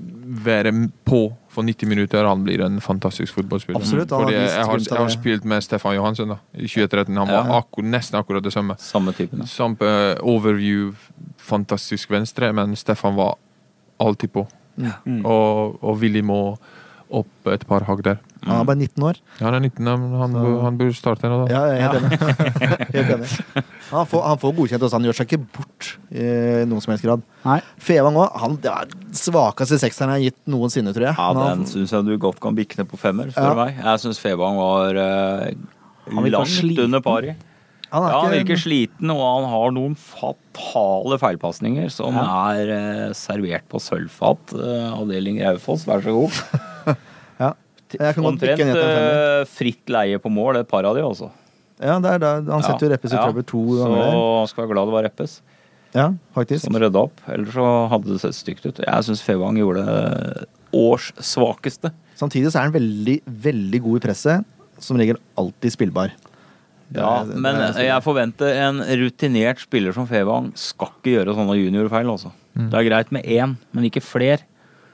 Speaker 5: være m- på for 90 minutter, han blir en fantastisk fotballspiller.
Speaker 1: Absolutt, han har
Speaker 5: Fordi jeg,
Speaker 1: vist
Speaker 5: jeg, har,
Speaker 1: glimt av
Speaker 5: jeg har
Speaker 1: det.
Speaker 5: spilt med Stefan Johansen da, i 2013. Han var
Speaker 4: Ja.
Speaker 5: akkur nesten akkurat det samme.
Speaker 4: Samme typen. Ja.
Speaker 5: Samt eh, overview, fantastisk venstre, men Stefan var alltid på. Og, og Willy må opp et par hakk der.
Speaker 1: Han er bare 19 år.
Speaker 5: Ja, Han er 19, men han, bør- han bør starte nå, da.
Speaker 1: Ja, jeg er helt enig. helt enig. Han, får, han får godkjent også. Han gjør seg ikke bort i noen som helst grad.
Speaker 2: Nei.
Speaker 1: Fevang òg. Han det er den svakeste sekseren jeg har gitt noensinne, tror jeg.
Speaker 4: Ja,
Speaker 1: Men han-
Speaker 4: den syns jeg du godt kan bikke ned på femmer, spør
Speaker 1: Ja.
Speaker 4: du meg. Jeg syns Febang var eh,
Speaker 2: Han virker
Speaker 4: langt
Speaker 2: sliten.
Speaker 4: under pari.
Speaker 1: han er
Speaker 4: Ja, han
Speaker 1: ikke-
Speaker 4: virker sliten, og han har noen fatale feilpasninger som
Speaker 2: Ja.
Speaker 4: er eh, servert på sølvfat. eh, avdeling Raufoss, vær så god.
Speaker 1: Ja. Jeg kan godt bikke
Speaker 4: Omtrent
Speaker 1: ned til en femmer.
Speaker 4: eh, fritt leie på mål, et par av de også.
Speaker 1: Ja, det er da. Han setter jo Reppes i
Speaker 4: Ja.
Speaker 1: trøbbel to ganger.
Speaker 4: Så
Speaker 1: der.
Speaker 4: han skal være glad det var Reppes,
Speaker 1: Ja, faktisk.
Speaker 4: som rydda opp. Ellers så hadde det sett stygt ut. Jeg syns Fevang gjorde det års svakeste.
Speaker 1: Samtidig så er han veldig, veldig god i presset. Som regel alltid spillbar. Det er-
Speaker 4: Ja,
Speaker 1: det er-
Speaker 4: men
Speaker 1: det er-
Speaker 4: jeg forventer en rutinert spiller som Fevang skal ikke gjøre sånne juniorfeil, altså.
Speaker 1: Mm.
Speaker 4: Det er greit med én, men ikke fler.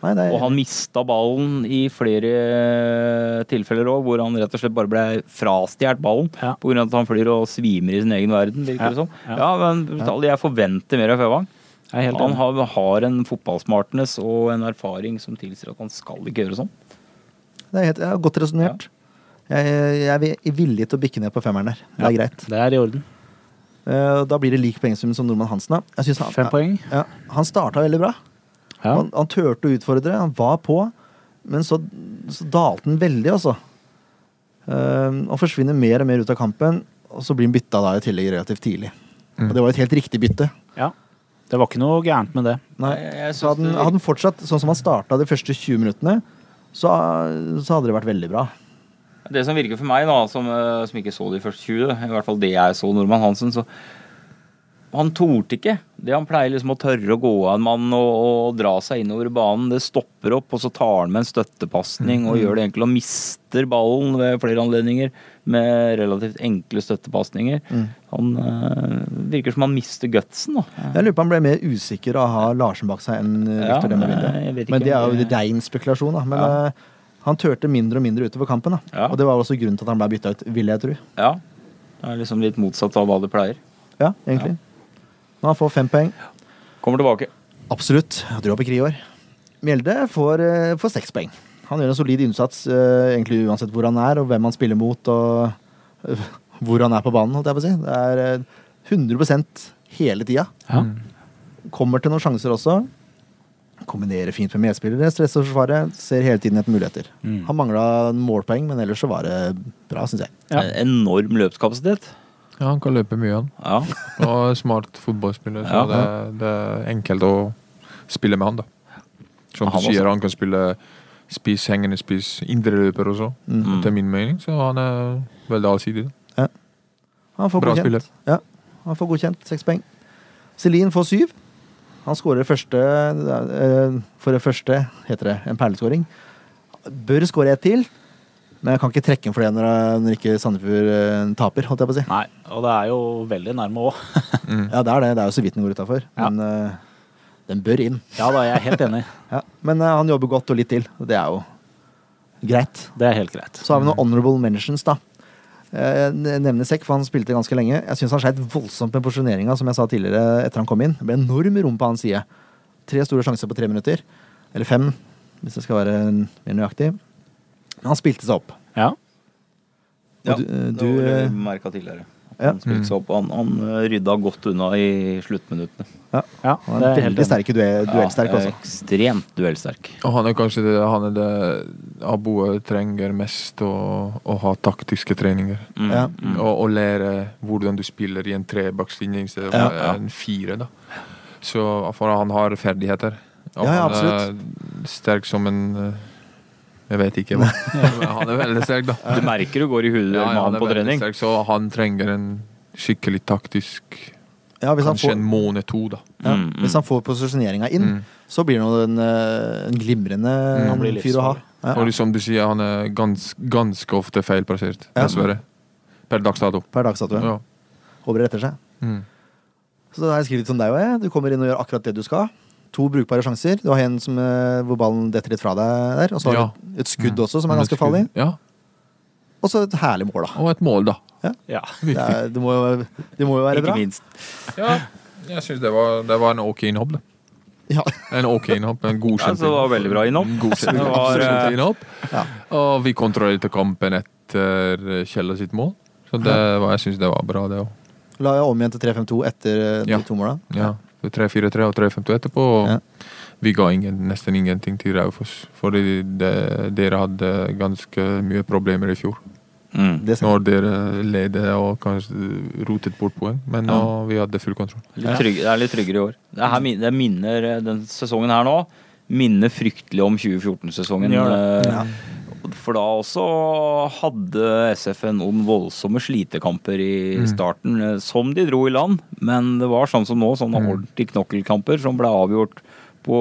Speaker 1: Nei, det er-
Speaker 4: Og han mista ballen i flere tilfeller òg, hvor han rett og slett bare ble frastjålet ballen
Speaker 2: Ja.
Speaker 4: på grunn av at han flyr og svimer i sin egen verden, virker det
Speaker 2: Ja.
Speaker 4: som. Ja, men Vitali, jeg forventer mer av Fevang.
Speaker 2: Jeg er helt
Speaker 4: Han
Speaker 2: enig.
Speaker 4: har, har en fotballsmartness og en erfaring som tilsier at han skal ikke gjøre sånn.
Speaker 1: det er helt, ja, godt resonnert. Jeg, jeg er villig til å bikke ned på femmeren der. Det er
Speaker 2: Ja.
Speaker 1: greit.
Speaker 2: Det er i orden.
Speaker 1: Eh, Da blir det lik poengsum som Nordmann Hansen. Da. Jeg synes han,
Speaker 2: Fem poeng.
Speaker 1: Ja, han starta veldig bra.
Speaker 2: Ja.
Speaker 1: Han, han turte å utfordre, han var på, men så, så dalte han veldig, altså. Ehm, han forsvinner mer og mer ut av kampen, og så blir han bytta da i tillegg relativt tidlig.
Speaker 4: Mm.
Speaker 1: Og det var et helt riktig bytte.
Speaker 2: Ja. Det var ikke noe gærent med det.
Speaker 1: Nei,
Speaker 4: Jeg- jeg
Speaker 1: så
Speaker 4: synes
Speaker 1: hadde han,
Speaker 4: det-
Speaker 1: hadde han fortsatt sånn som han starta de første 20 minuttene, så, så hadde det vært veldig bra.
Speaker 4: Det som virker for meg, da, som, eh, som ikke så de første 20, i hvert fall det jeg så Norman Hansen, så han torde ikke. Det Han pleier liksom å tørre å gå av en mann og, og dra seg innover banen. Det stopper opp, og så tar han med en støttepasning og gjør det enkelt. Og mister ballen ved flere anledninger med relativt enkle støttepasninger. Han eh, virker som han mister gutsen, da.
Speaker 1: Jeg lurer på om han ble mer usikker av å ha Larsen bak seg enn eh,
Speaker 4: Ja,
Speaker 1: Victor Demme Linde.
Speaker 4: jeg vet ikke
Speaker 1: Men det er
Speaker 4: om
Speaker 1: jo
Speaker 4: det-
Speaker 1: rein spekulasjon, da. Men
Speaker 4: Ja.
Speaker 1: eh, han turte mindre og mindre utover kampen, da.
Speaker 4: Ja.
Speaker 1: Og det var også grunnen til at han ble bytta ut, vil jeg tro.
Speaker 4: Ja. Det er liksom litt motsatt av hva det pleier.
Speaker 1: Ja, egentlig. Nå han får fem poeng.
Speaker 4: Kommer tilbake.
Speaker 1: Absolutt. Jeg dro opp i Kriår. Mjelde får, eh, får seks poeng. Han gjør en solid innsats eh, egentlig uansett hvor han er, og hvem han spiller mot, og eh, hvor han er på banen, holdt jeg på å si. Det er eh, 100 hele tida.
Speaker 2: Ja.
Speaker 1: Kommer til noen sjanser også. Kombinerer fint med medspillere, stresser forsvaret, ser hele tiden etter muligheter. Han mangla målpoeng, men ellers så var det bra, syns jeg.
Speaker 2: Ja.
Speaker 4: En Enorm løpskapasitet.
Speaker 5: Ja, han kan løpe mye, han.
Speaker 4: Ja.
Speaker 5: Og smart fotballspiller, så
Speaker 4: Ja.
Speaker 5: det, det er enkelt å spille med han, da. Som du
Speaker 4: Han også.
Speaker 5: sier, han kan spille spiss, hengende spiss, indreløper også,
Speaker 1: Mm.
Speaker 5: etter min mening. Så han er veldig allsidig. da.
Speaker 1: Han får
Speaker 5: Bra
Speaker 1: godkjent.
Speaker 5: spiller.
Speaker 1: Ja, han får godkjent. Seks poeng. Celine får syv. Han skårer første eh, For det første heter det en perleskåring. Bør skåre ett til. Men jeg kan ikke trekke den for det når, når ikke Sandefjord eh, taper, holdt jeg på å si.
Speaker 2: Nei, og det er jo veldig nærme òg.
Speaker 5: Mm.
Speaker 1: Ja, det er det. Det er jo så vidt den går utafor.
Speaker 2: Ja.
Speaker 1: Men eh, den bør inn.
Speaker 2: Ja da, jeg er helt enig.
Speaker 1: Ja. Men eh, han jobber godt og litt til, og det er jo greit.
Speaker 2: Det er helt greit.
Speaker 1: Så har vi noen honorable mentions, da. Eh, Jeg nevner Sekk, for han spilte ganske lenge. Jeg syns han sleit voldsomt med posisjoneringa, som jeg sa tidligere, etter han kom inn. Det ble enorm rom på hans side. Tre store sjanser på tre minutter. Eller fem, hvis jeg skal være mer nøyaktig. Men han spilte seg opp.
Speaker 2: Ja.
Speaker 1: Og
Speaker 4: Ja,
Speaker 1: du, eh,
Speaker 4: det var det
Speaker 1: du,
Speaker 4: vi merket tidligere.
Speaker 1: Ja. Mm.
Speaker 4: Han spilte seg opp. Han, han eh, rydda godt unna i sluttminuttene.
Speaker 2: ja
Speaker 1: han er
Speaker 2: det er jeg helt
Speaker 1: veldig
Speaker 2: enig.
Speaker 1: sterk i duell, duellsterk,
Speaker 4: Ja,
Speaker 1: altså.
Speaker 4: Ekstremt duellsterk.
Speaker 5: Og han er kanskje det han er det Aboe trenger mest, å, å ha taktiske treninger.
Speaker 4: Mm.
Speaker 1: Ja.
Speaker 4: Mm.
Speaker 5: Og, og lære hvordan du spiller i en trebakslinje i stedet for
Speaker 1: Ja.
Speaker 5: en fire. da. Så for han har ferdigheter. Og
Speaker 1: Ja, ja,
Speaker 5: han er sterk som en eh, Jeg vet ikke hva. Men han er veldig sterk, da.
Speaker 4: Du merker du går i hodet med
Speaker 5: han
Speaker 4: han
Speaker 5: er
Speaker 4: på
Speaker 5: veldig
Speaker 4: trening.
Speaker 5: Sterk, så han trenger en skikkelig taktisk
Speaker 1: Ja, hvis han
Speaker 5: Kanskje
Speaker 1: får,
Speaker 5: en måned to, da.
Speaker 1: ja,
Speaker 4: Mm, mm.
Speaker 1: hvis han får posisjoneringa inn,
Speaker 5: Mm.
Speaker 1: så blir han jo en, eh, en glimrende
Speaker 5: Han
Speaker 2: Mm. blir
Speaker 1: fyr å ha.
Speaker 2: livsfarlig.
Speaker 1: Ja,
Speaker 5: Og som du sier, han er gans, ganske ofte feilplassert,
Speaker 1: Ja.
Speaker 5: dessverre. Per dags dato.
Speaker 1: per dags dato.
Speaker 5: Ja.
Speaker 1: Håper det retter seg.
Speaker 5: Mm.
Speaker 1: Så da har jeg skrevet som deg og jeg. Du kommer inn og gjør akkurat det du skal. To brukbare sjanser. Du har en som, eh, hvor ballen detter litt fra deg der. Og så har
Speaker 5: Ja. Mm.
Speaker 1: du et skudd også,
Speaker 4: Mm.
Speaker 1: som er ganske farlig.
Speaker 5: Ja,
Speaker 1: Og så et herlig mål, da.
Speaker 5: og et mål, da.
Speaker 2: Ja.
Speaker 1: Det, er, det, må, jo, det må jo være
Speaker 4: Ikke
Speaker 1: bra.
Speaker 4: minst.
Speaker 5: Ja, jeg syns det, var- det var en ok innhopp, da.
Speaker 1: Ja.
Speaker 5: En ok innhopp, en god
Speaker 4: Ja, så det var veldig bra innom.
Speaker 5: Godkjent
Speaker 4: Det var, eh,
Speaker 5: innhopp.
Speaker 1: Ja.
Speaker 5: Og vi kontrollerte kampen etter Kjella sitt mål, så det var, jeg syns det var bra, det òg.
Speaker 1: La jeg om igjen til 3-5-2 etter eh, de
Speaker 5: Ja.
Speaker 1: to måla.
Speaker 5: Ja. 3-4-3 og 3-5-2 etterpå. Og
Speaker 1: Ja.
Speaker 5: Vi ga ingen, nesten ingenting til Raufoss, fordi det, dere hadde ganske mye problemer i fjor.
Speaker 4: Mm.
Speaker 1: Det ser
Speaker 5: Når dere ledet og kanskje rotet bort poeng, men nå, vi hadde full kontroll.
Speaker 4: Litt trygg, det er litt tryggere i år. Det, her, min- det minner eh, den sesongen her nå minner fryktelig om 2014-sesongen.
Speaker 2: Gjør
Speaker 4: eh, For da også hadde SF noen voldsomme slitekamper i starten, eh, som de dro i land. Men det var sånn som nå, sånne ordentlige knokkelkamper som ble avgjort på,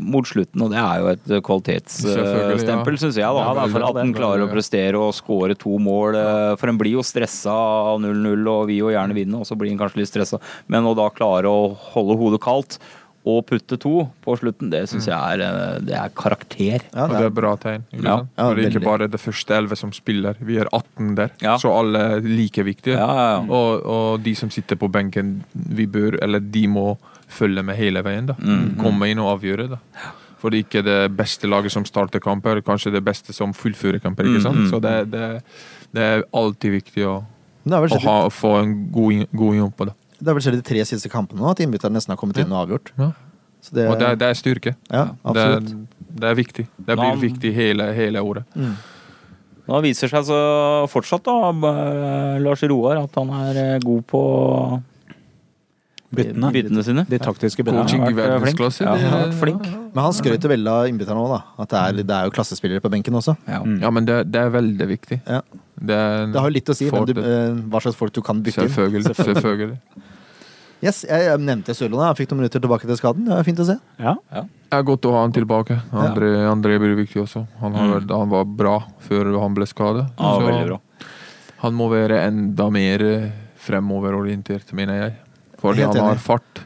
Speaker 4: mot slutten. Og det er jo et
Speaker 5: Selvfølgelig, ja.
Speaker 4: kvalitetsstempel, syns jeg. da.
Speaker 5: Ja, det er
Speaker 4: for
Speaker 5: veldig.
Speaker 4: at en klarer å prestere og skåre to mål. eh, For en blir jo stressa av 0-0, og vil jo gjerne vinne, og så blir en kanskje litt stressa. Men å da klare å holde hodet kaldt og putte to på slutten, det syns jeg er, eh, det er karakter.
Speaker 1: ja,
Speaker 5: Og
Speaker 1: det
Speaker 5: det
Speaker 1: er.
Speaker 5: er bra tegn. Ikke
Speaker 4: Ja.
Speaker 5: sant?
Speaker 1: Ja,
Speaker 5: Når det er ikke
Speaker 1: veldig.
Speaker 5: bare det første elleve som spiller. Vi er 18 der,
Speaker 4: Ja.
Speaker 5: så alle er like viktige.
Speaker 4: Ja, ja,
Speaker 1: Mm.
Speaker 4: ja.
Speaker 5: Og, og de som sitter på benken, vi bør, eller de må følge med hele veien. da.
Speaker 1: Mm.
Speaker 4: Mm.
Speaker 5: Komme inn og avgjøre. da. For det er ikke det beste laget som starter kamper, kanskje det beste som fullfører kamper.
Speaker 4: Mm,
Speaker 5: ikke sant? Så det, det, det er alltid viktig å,
Speaker 1: Men det er vel
Speaker 5: å
Speaker 1: skjedd,
Speaker 5: ha, få en god, inn- god jobb på det.
Speaker 1: det er vel skjedd de tre siste kampene nå at innbytterne nesten har kommet inn og avgjort.
Speaker 5: Ja.
Speaker 1: Så det,
Speaker 5: Og det, er- det er styrke.
Speaker 1: ja,
Speaker 5: Det, er-
Speaker 1: absolutt.
Speaker 5: det er viktig.
Speaker 4: Ja.
Speaker 5: Det blir viktig hele, hele året.
Speaker 4: Da viser seg så fortsatt da, eh, Lars Roar, at han er eh, god på
Speaker 2: Byttene.
Speaker 4: byttene sine.
Speaker 2: De taktiske byttene.
Speaker 5: Coaching
Speaker 4: Ja, han
Speaker 5: i
Speaker 4: har vært eh, flink.
Speaker 5: verdensklasse.
Speaker 4: Ja,
Speaker 5: det
Speaker 4: han har
Speaker 5: er-
Speaker 4: vært flink.
Speaker 1: Men han skrøt jo veldig av innbytterne òg, da. At det
Speaker 5: Mm.
Speaker 1: er, det er jo klassespillere på benken også.
Speaker 4: Ja.
Speaker 5: Ja, men det, det er veldig viktig.
Speaker 1: Mm. Ja.
Speaker 5: Det, er,
Speaker 1: Det har jo litt å si hvem du,
Speaker 5: Fordel.
Speaker 1: eh, hva slags folk du kan bytte inn.
Speaker 5: Selvfølgelig. selvfølgelig.
Speaker 1: Yes, jeg, jeg nevnte Sørlandet. Han fikk noen minutter tilbake til skaden. Det er fint å se.
Speaker 2: Ja.
Speaker 5: Det er godt å ha han tilbake. André, André blir viktig også. Han, har, vært- han var bra før han ble skadet.
Speaker 4: Ja,
Speaker 5: Så
Speaker 4: veldig bra.
Speaker 5: han må være enda mer eh, fremoverorientert, mener jeg. Fordi
Speaker 1: Helt
Speaker 5: han
Speaker 1: enig.
Speaker 5: har fart,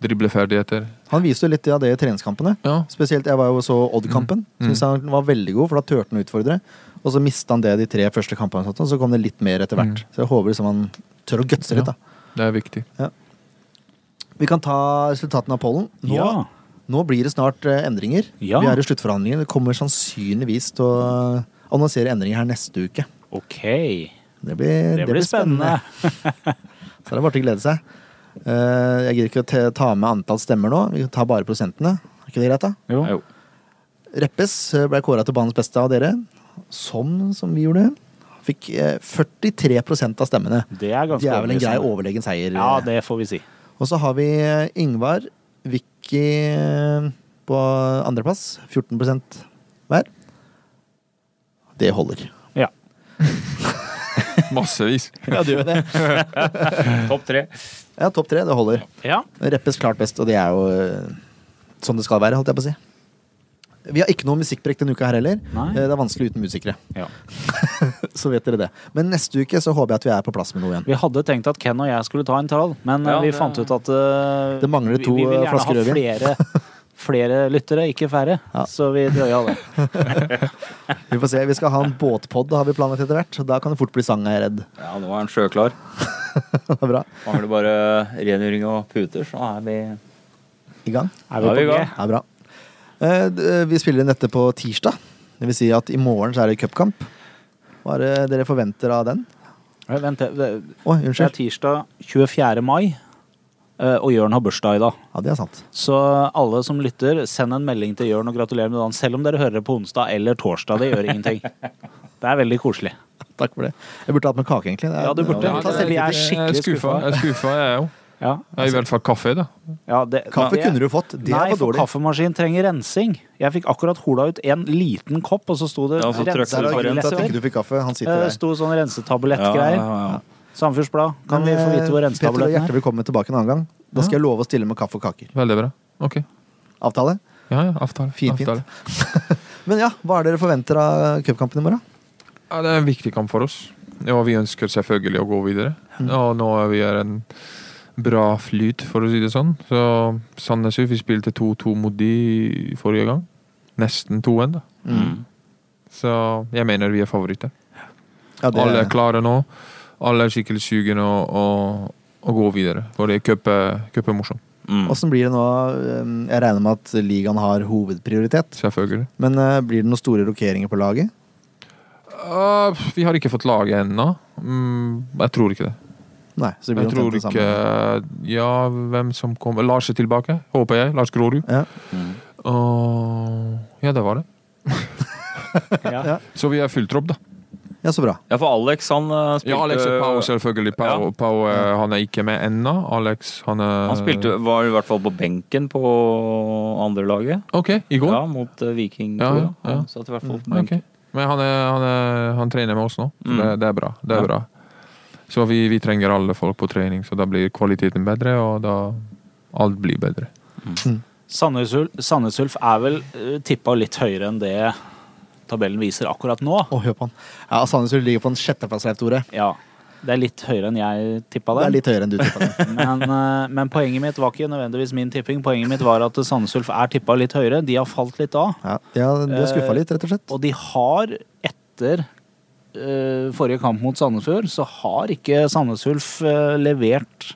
Speaker 5: dribleferdigheter.
Speaker 1: Han viste jo litt av det i treningskampene.
Speaker 5: Ja.
Speaker 1: Spesielt jeg var jo så Odd-kampen.
Speaker 2: Mm.
Speaker 1: Syns han var veldig god, for da turte han å utfordre. Og så mista han det de tre første kampene, han satt, og så kom det litt mer etter hvert.
Speaker 2: Mm.
Speaker 1: Så jeg håper liksom han tør å gutse litt,
Speaker 5: Ja.
Speaker 1: da.
Speaker 5: Det er viktig.
Speaker 1: Vi kan ta resultatene av pollen. Nå,
Speaker 2: ja.
Speaker 1: nå blir det snart eh, endringer.
Speaker 2: Ja.
Speaker 1: Vi er i sluttforhandlingene. Vi kommer sannsynligvis til å annonsere endringer her neste uke.
Speaker 2: OK.
Speaker 1: Det blir,
Speaker 2: Det blir spennende.
Speaker 1: Så det er bare til å glede seg. Eh, jeg gidder ikke å te- ta med antall stemmer nå. Vi tar bare prosentene. Er ikke det greit, da?
Speaker 2: Jo.
Speaker 4: Jo.
Speaker 1: Reppes eh, ble kåra til banens beste av dere. Sånn som vi gjorde. Fikk eh, 43 av stemmene.
Speaker 2: Det er ganske
Speaker 1: Det er vel en grei
Speaker 2: overbevisende.
Speaker 1: overlegen seier.
Speaker 2: Ja, det får vi si.
Speaker 1: Og så har vi eh, Yngvar, Vicky eh, på andreplass. 14 hver. Det holder.
Speaker 2: Ja.
Speaker 5: Massevis.
Speaker 1: Ja, det gjør det.
Speaker 4: Topp tre.
Speaker 1: Ja, Topp tre, det holder.
Speaker 2: ja.
Speaker 1: Reppes klart best, og det er jo eh, sånn det skal være, holdt jeg på å si. Vi har ikke noe musikkbrekk denne uka her heller.
Speaker 2: Nei.
Speaker 1: Eh, Det er vanskelig uten musikere.
Speaker 2: Ja.
Speaker 1: Så vet dere det. Men neste uke så håper jeg at vi er på plass med noe igjen.
Speaker 2: Vi hadde tenkt at Ken og jeg skulle ta en trall, men eh,
Speaker 4: Ja,
Speaker 2: vi
Speaker 4: det-
Speaker 2: fant ut at eh,
Speaker 1: Det mangler to,
Speaker 2: vi, vi vil
Speaker 1: eh, flasker
Speaker 2: gjerne ha flere, flere lyttere, ikke færre,
Speaker 1: Ja.
Speaker 2: så vi drøya det.
Speaker 1: Vi får se, vi skal ha en båtpod, har vi planlagt etter hvert. Da kan det fort bli sang, er jeg redd.
Speaker 4: Ja, nå er han sjøklar.
Speaker 1: Det er bra.
Speaker 4: Mangler bare rengjøring og puter, så er vi
Speaker 1: I gang.
Speaker 2: Er vi
Speaker 4: Da er
Speaker 2: på
Speaker 4: vi i
Speaker 2: G?
Speaker 4: gang.
Speaker 1: Det er bra. Eh, d- Vi spiller inn dette på tirsdag. Det vil si at i morgen så er det cupkamp. Hva er det dere forventer av den?
Speaker 2: Nei, Vent, det, det-
Speaker 1: Å,
Speaker 2: det er
Speaker 1: unnskyld.
Speaker 2: tirsdag 24. mai, eh, og Jørn har bursdag i dag.
Speaker 1: Ja, det er sant.
Speaker 2: Så alle som lytter, send en melding til Jørn og gratulerer med dagen, selv om dere hører det på onsdag eller torsdag. Det gjør ingenting. Det er veldig koselig.
Speaker 1: Takk for det. Jeg burde hatt med kake, egentlig. Det er- Altså-
Speaker 2: Ja, du burde.
Speaker 1: Ja, ta
Speaker 2: Vi er
Speaker 1: selvkritikk.
Speaker 2: skikkelig
Speaker 5: skuffa.
Speaker 2: skuffa.
Speaker 5: eh, Jeg er skuffa, jeg er jo.
Speaker 2: Ja,
Speaker 5: Jeg er I hvert fall kaffe, da.
Speaker 2: ja, det,
Speaker 1: Kaffe
Speaker 2: det-
Speaker 1: kunne du fått. Det
Speaker 2: Nei,
Speaker 1: var
Speaker 2: for
Speaker 1: dårlig.
Speaker 2: kaffemaskin trenger rensing. Jeg fikk akkurat hola ut en liten kopp, og så sto det
Speaker 4: Ja, så trykte
Speaker 1: Der er
Speaker 4: du
Speaker 1: grunnen
Speaker 4: på
Speaker 1: til at ikke
Speaker 2: rensetabletter.
Speaker 1: du fikk kaffe. Han sitter
Speaker 2: Eh,
Speaker 1: der.
Speaker 2: Sto sånn rensetablettgreier. Samfunnsblad, kan vi
Speaker 1: Men,
Speaker 2: få
Speaker 1: eh,
Speaker 2: vite hvor
Speaker 1: Petter og
Speaker 2: rensetabletten er?
Speaker 1: Hjerte vil komme tilbake en annen gang. Da skal jeg love å stille med kaffe og kaker.
Speaker 5: Veldig bra. Ok.
Speaker 1: Avtale?
Speaker 5: Ja, ja, avtale.
Speaker 1: Fint, fint.
Speaker 5: avtale.
Speaker 1: Men ja, hva er det dere forventer av cupkampen i morgen?
Speaker 5: Ja, det er en viktig kamp for oss. Ja, vi ønsker selvfølgelig å gå videre.
Speaker 1: Mm.
Speaker 5: Og nå er vi er en bra flyt, for å si det sånn. Så Sandnes Ulf, vi spilte 2-2 mot de forrige gang. Nesten 2-1, da.
Speaker 4: Mm.
Speaker 5: Så jeg mener vi er favoritter.
Speaker 1: Ja, det,
Speaker 5: Alle er klare nå. Alle er skikkelig sugne og, og, og gå videre. For det er cup er- cup er morsomt.
Speaker 4: Mm.
Speaker 1: Hvordan blir det nå? eh, Jeg regner med at ligaen har hovedprioritet.
Speaker 5: Selvfølgelig.
Speaker 1: Men eh, blir det noen store rokeringer på laget?
Speaker 5: Ah, vi har ikke fått laget ennå. Mm, jeg tror ikke det.
Speaker 1: Nei, så det blir
Speaker 5: Jeg tror
Speaker 1: omtrent det
Speaker 5: ikke
Speaker 1: samme.
Speaker 5: Ja, hvem som kommer Lars er tilbake, håper jeg. Lars Grorud.
Speaker 1: Ja.
Speaker 4: Mm.
Speaker 5: Og ja, det var det.
Speaker 2: Ja.
Speaker 5: Så vi er fullt tropp, da.
Speaker 1: ja, så bra.
Speaker 4: Ja, for Alex, han eh, spilte
Speaker 5: Ja, Alex og Pau, selvfølgelig. Pau,
Speaker 4: Ja.
Speaker 5: Pau eh, han er ikke med ennå. Alex, han er
Speaker 4: Han spilte, var i hvert fall på benken på andre laget.
Speaker 5: OK, i går.
Speaker 4: Ja, mot eh, Viking.
Speaker 5: Ja,
Speaker 4: tror jeg.
Speaker 5: ja, ja.
Speaker 4: Han satt i hvert fall på
Speaker 5: Ok.
Speaker 4: benken.
Speaker 5: Men han, er, han, er, han trener med oss nå. Så
Speaker 4: Mm.
Speaker 5: det, det er bra. Det er
Speaker 4: Ja.
Speaker 5: bra. Så vi, vi trenger alle folk på trening, så da blir kvaliteten bedre, og da alt blir bedre.
Speaker 2: Sandnes Ulf- Sandnes Ulf er vel eh, tippa litt høyere enn det tabellen viser akkurat nå.
Speaker 1: Å, hør på han. Ja, Sandnes Ulf ligger på en sjetteplass, Leif Tore.
Speaker 2: Ja, det er litt høyere enn jeg tippa
Speaker 1: Det er
Speaker 2: det.
Speaker 1: litt høyere enn du tippa.
Speaker 2: Men, eh, men poenget mitt var ikke nødvendigvis min tipping. Poenget mitt var at Sandnes Ulf er tippa litt høyere. De har falt litt av.
Speaker 1: Ja, de har, de har skuffa
Speaker 2: Eh,
Speaker 1: litt, rett og slett.
Speaker 2: Og de har etter eh, forrige kamp mot Sandefjord, så har ikke Sandnes Ulf eh, levert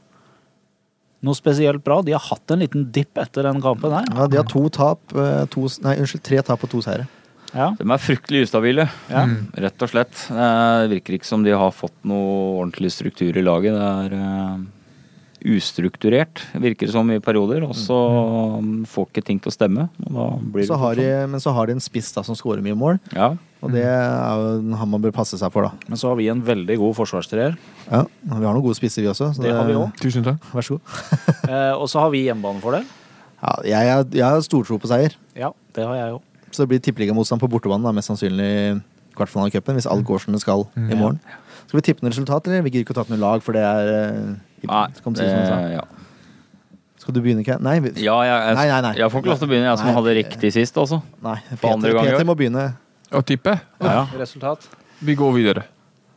Speaker 2: noe spesielt bra. De har hatt en liten dipp etter den kampen her.
Speaker 1: Ja, de har to tap, eh, to, s- nei, unnskyld, tre tap og to seire.
Speaker 2: Ja.
Speaker 4: De er fryktelig ustabile,
Speaker 2: Ja.
Speaker 5: Mm.
Speaker 4: rett og slett. Det virker ikke som de har fått noe ordentlig struktur i laget. Det er eh, ustrukturert, virker det som i perioder. Og så mm, får ikke ting til å stemme. Og da blir
Speaker 1: Så
Speaker 4: det
Speaker 1: har
Speaker 4: fort
Speaker 1: de, men så har de en spiss da, som scorer mye mål,
Speaker 4: sånn. Ja.
Speaker 1: og det er jo han man bør passe seg for, da.
Speaker 2: Men så har vi en veldig god forsvarstreer.
Speaker 1: Ja, og Vi har noen gode spisser, vi også. så
Speaker 2: Det har vi òg.
Speaker 5: Tusen takk.
Speaker 1: Vær så god.
Speaker 2: Eh, og så har vi hjemmebanefordel.
Speaker 1: Ja, jeg, har- jeg har stortro på seier,
Speaker 2: Ja, det har jeg òg.
Speaker 1: så det blir tippeligamotstand på bortebane, da, mest sannsynlig i kvartfinalecupen, hvis alt går som det skal i morgen. Skal vi tippe noe resultat, eller? Vi gidder ikke å ta noe lag, for det er eh,
Speaker 4: Nei,
Speaker 1: skal, man si som man sa.
Speaker 4: eh, ja.
Speaker 1: skal du begynne, Ken? Nei, vi,
Speaker 4: Ja, jeg, jeg,
Speaker 1: Nei, nei, nei.
Speaker 4: jeg får ikke lov til å begynne, jeg som
Speaker 1: Nei.
Speaker 4: hadde riktig sist, altså.
Speaker 1: nei.
Speaker 4: andre
Speaker 1: Peter,
Speaker 4: gang i år.
Speaker 1: Peter må begynne.
Speaker 5: Og tippe?
Speaker 4: Ja, ja.
Speaker 2: Resultat?
Speaker 5: Vi går videre.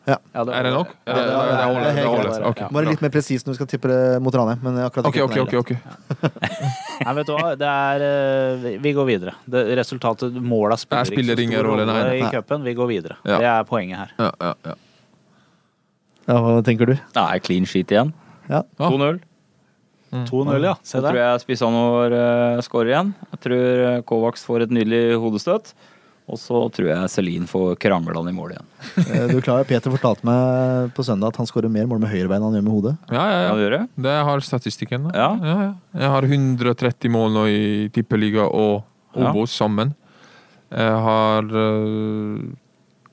Speaker 2: Ja,
Speaker 5: Er det nok?
Speaker 2: Ja,
Speaker 5: Er det-
Speaker 2: det var-
Speaker 5: det- det holder,
Speaker 1: det er
Speaker 5: det
Speaker 1: helt
Speaker 5: holder.
Speaker 2: greit.
Speaker 5: Ok,
Speaker 2: Ja.
Speaker 1: Bare
Speaker 5: bra.
Speaker 1: litt mer presis når du skal tippe det mot Ranheim. Men akkurat
Speaker 5: Ok, ok, ok. ok.
Speaker 2: Nei, vet du hva, det er eh, vi- Vi går videre. Det, resultatet, måla spiller,
Speaker 5: Nei, spiller
Speaker 2: ikke
Speaker 5: ingen
Speaker 2: så stor
Speaker 5: rolle, nei.
Speaker 2: i
Speaker 1: Nei.
Speaker 2: cupen. Vi går videre.
Speaker 5: Ja.
Speaker 2: Det er poenget her.
Speaker 5: Ja, ja, ja.
Speaker 1: Ja, hva tenker du?
Speaker 4: Det er clean sheet igjen.
Speaker 1: Ja.
Speaker 5: Ah.
Speaker 4: 2-0.
Speaker 2: 2-0, ja. Se
Speaker 4: Så tror
Speaker 2: der.
Speaker 4: jeg Spissanor uh, skårer igjen. Jeg tror eh, Kovacs får et nydelig hodestøt. Og så tror jeg Celine får krangla i mål igjen.
Speaker 1: Eh, Du er klar, Peter fortalte meg på søndag at han skårer mer mål med høyrebein enn han gjør med hodet.
Speaker 5: Ja, ja,
Speaker 4: Kan
Speaker 5: ja.
Speaker 4: du gjøre?
Speaker 5: Det jeg har statistikken. da.
Speaker 4: Ja.
Speaker 5: Ja, ja. Jeg har 130 mål nå i Tippeliga og
Speaker 4: Ja.
Speaker 5: Obos sammen. Jeg har øh,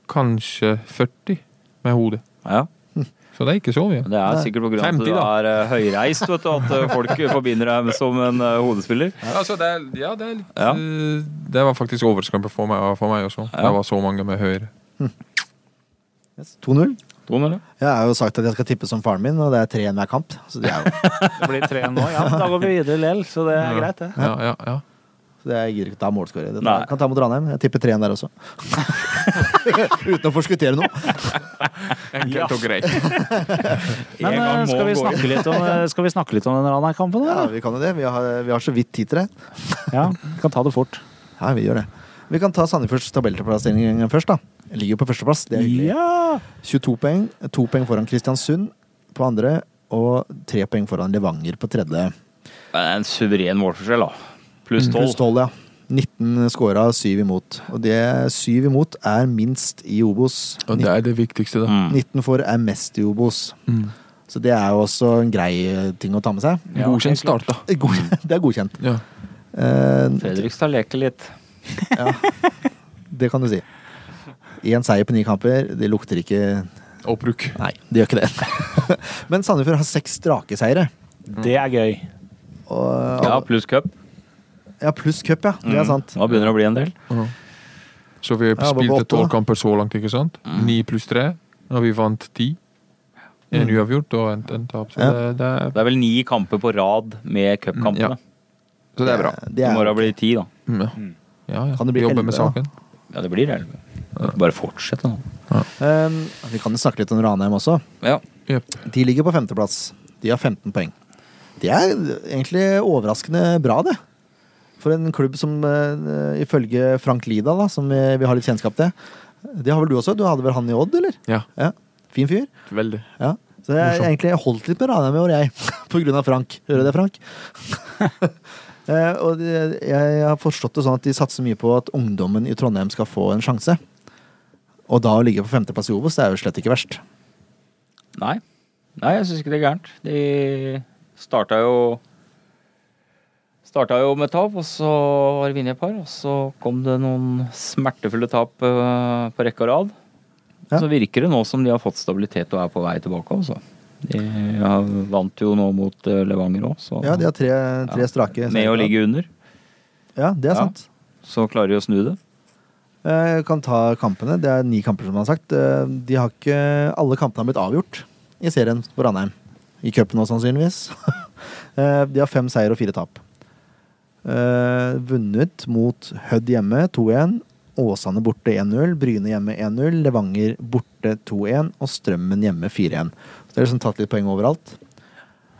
Speaker 5: kanskje 40 med hodet.
Speaker 4: Ja.
Speaker 5: Så det er ikke så mye.
Speaker 4: Det er sikkert på grunn av at
Speaker 5: 50
Speaker 4: du
Speaker 5: da.
Speaker 4: er eh, høyreist, vet du, at eh, folk forbinder deg med som en eh, hodespiller.
Speaker 5: Altså, det er, ja, det er litt
Speaker 4: Ja.
Speaker 5: øh, Det var faktisk overraskende for meg, for meg også.
Speaker 4: Ja.
Speaker 5: Det var så mange med høyre.
Speaker 1: Yes. 2-0.
Speaker 4: 2-0.
Speaker 1: Jeg har jo sagt at jeg skal tippe som faren min, og det er 3-1 hver kamp. Så det er jo
Speaker 2: Det blir 3-1 nå. Ja, men da går vi videre lell, så det er greit, det.
Speaker 5: Ja, ja, ja.
Speaker 1: så Det jeg gidder ikke ta målskårer. Dette
Speaker 4: Nei.
Speaker 1: Kan ta mot Ranheim. Jeg tipper 3-1 der også. Uten å forskuttere noe.
Speaker 5: Enkelt og greit.
Speaker 2: Men
Speaker 4: En gang
Speaker 2: eh,
Speaker 4: må
Speaker 2: skal vi,
Speaker 4: gå inn.
Speaker 2: snakke litt om, eh, skal vi snakke litt om den Ranheim-kampen?
Speaker 1: Ja,
Speaker 2: eller?
Speaker 1: vi kan jo det. Vi har, vi har så vidt tid til det.
Speaker 2: Ja, vi kan ta det fort.
Speaker 1: Ja, vi gjør det. Vi kan ta Sandefjords tabellplassering først, da. Jeg ligger jo på førsteplass. Det er hyggelig.
Speaker 2: Ja!
Speaker 1: 22 poeng. To poeng foran Kristiansund på andre, og tre poeng foran Levanger på tredje.
Speaker 4: Det er en suveren målforskjell, da. Pluss
Speaker 1: Mm, Pluss 12,
Speaker 4: tolv.
Speaker 1: ja. 19 scora, 7 imot. Og det 7 imot er minst i Obos.
Speaker 5: Og det er det viktigste, da.
Speaker 4: Mm.
Speaker 1: 19 for er mest i Obos.
Speaker 5: Mm.
Speaker 1: Så det er jo også en grei eh, ting å ta med seg.
Speaker 4: Ja,
Speaker 5: Godkjent start, da.
Speaker 1: God- Det er godkjent.
Speaker 5: Ja.
Speaker 1: Eh,
Speaker 4: Fredrikstad leker litt.
Speaker 1: Det kan du si. Én seier på ni kamper, det lukter ikke
Speaker 5: Opprykk.
Speaker 1: Nei, det gjør ikke det. Men Sandefjord har seks strake seire.
Speaker 2: Det er gøy.
Speaker 1: Og-
Speaker 4: Ja, pluss cup.
Speaker 1: ja, pluss cup, ja.
Speaker 5: Mm.
Speaker 1: Det er sant.
Speaker 4: Da begynner det å bli en del.
Speaker 5: Så vi
Speaker 1: bare på
Speaker 5: spilte
Speaker 1: åtte,
Speaker 5: tolv
Speaker 1: da.
Speaker 5: kamper så langt, ikke sant? Ni pluss tre, og vi vant ti. En uavgjort og en, en tap. Så,
Speaker 1: Mm. Ja.
Speaker 5: det, det er,
Speaker 4: Det er vel ni kamper på rad med
Speaker 5: ja.
Speaker 4: cupkampene.
Speaker 5: så det er bra.
Speaker 1: Det
Speaker 4: I morgen
Speaker 1: er,
Speaker 4: blir det ti, da.
Speaker 5: Mm, Ja. Ja, ja.
Speaker 1: Kan det bli
Speaker 5: Vi jobber med
Speaker 1: elleve, da?
Speaker 5: saken.
Speaker 4: Ja, det blir elleve. Bare fortsett, da.
Speaker 1: um, vi kan jo snakke litt om Ranheim også.
Speaker 4: Ja.
Speaker 5: Jep.
Speaker 1: De ligger på femteplass. De har 15 poeng. Det er egentlig overraskende bra, det. For en klubb som eh, ifølge Frank Lida, da, som eh, vi, vi har litt kjennskap til Det har vel du også? Du hadde vel han i Odd, eller?
Speaker 5: Ja,
Speaker 1: Ja. Fin fyr.
Speaker 5: veldig.
Speaker 1: Ja. Så jeg har
Speaker 5: Morsom.
Speaker 1: egentlig holdt litt med Ranheim i år, jeg. På grunn av Frank. Hører du det, Frank? Eh, og det- jeg har forstått det sånn at de satser mye på at ungdommen i Trondheim skal få en sjanse. Og da å ligge på femteplass i Obos, det er jo slett ikke verst.
Speaker 4: Nei. Nei, jeg syns ikke det er gærent. De starta jo Starta jo med tap, og så har de vunnet et par. Og så kom det noen smertefulle tap eh, på rekke og rad.
Speaker 1: Ja.
Speaker 4: Så virker det nå som de har fått stabilitet og er på vei tilbake, altså. De har- vant jo nå mot eh, Levanger òg, så
Speaker 1: Ja, de har tre, tre
Speaker 4: Ja.
Speaker 1: strake.
Speaker 4: med å ligge under,
Speaker 1: Ja, det er
Speaker 4: Ja.
Speaker 1: sant.
Speaker 4: så klarer de å snu det.
Speaker 1: Eh, kan ta kampene. Det er ni kamper, som han har sagt. Eh, De har ikke Alle kampene har blitt avgjort i serien på Ranheim. I cupen òg, sannsynligvis. Eh, De har fem seier og fire tap. Eh, Vunnet mot Hødd hjemme 2-1. Åsane borte 1-0. Bryne hjemme 1-0. Levanger borte 2-1. Og Strømmen hjemme 4-1. Så det er liksom tatt litt poeng overalt.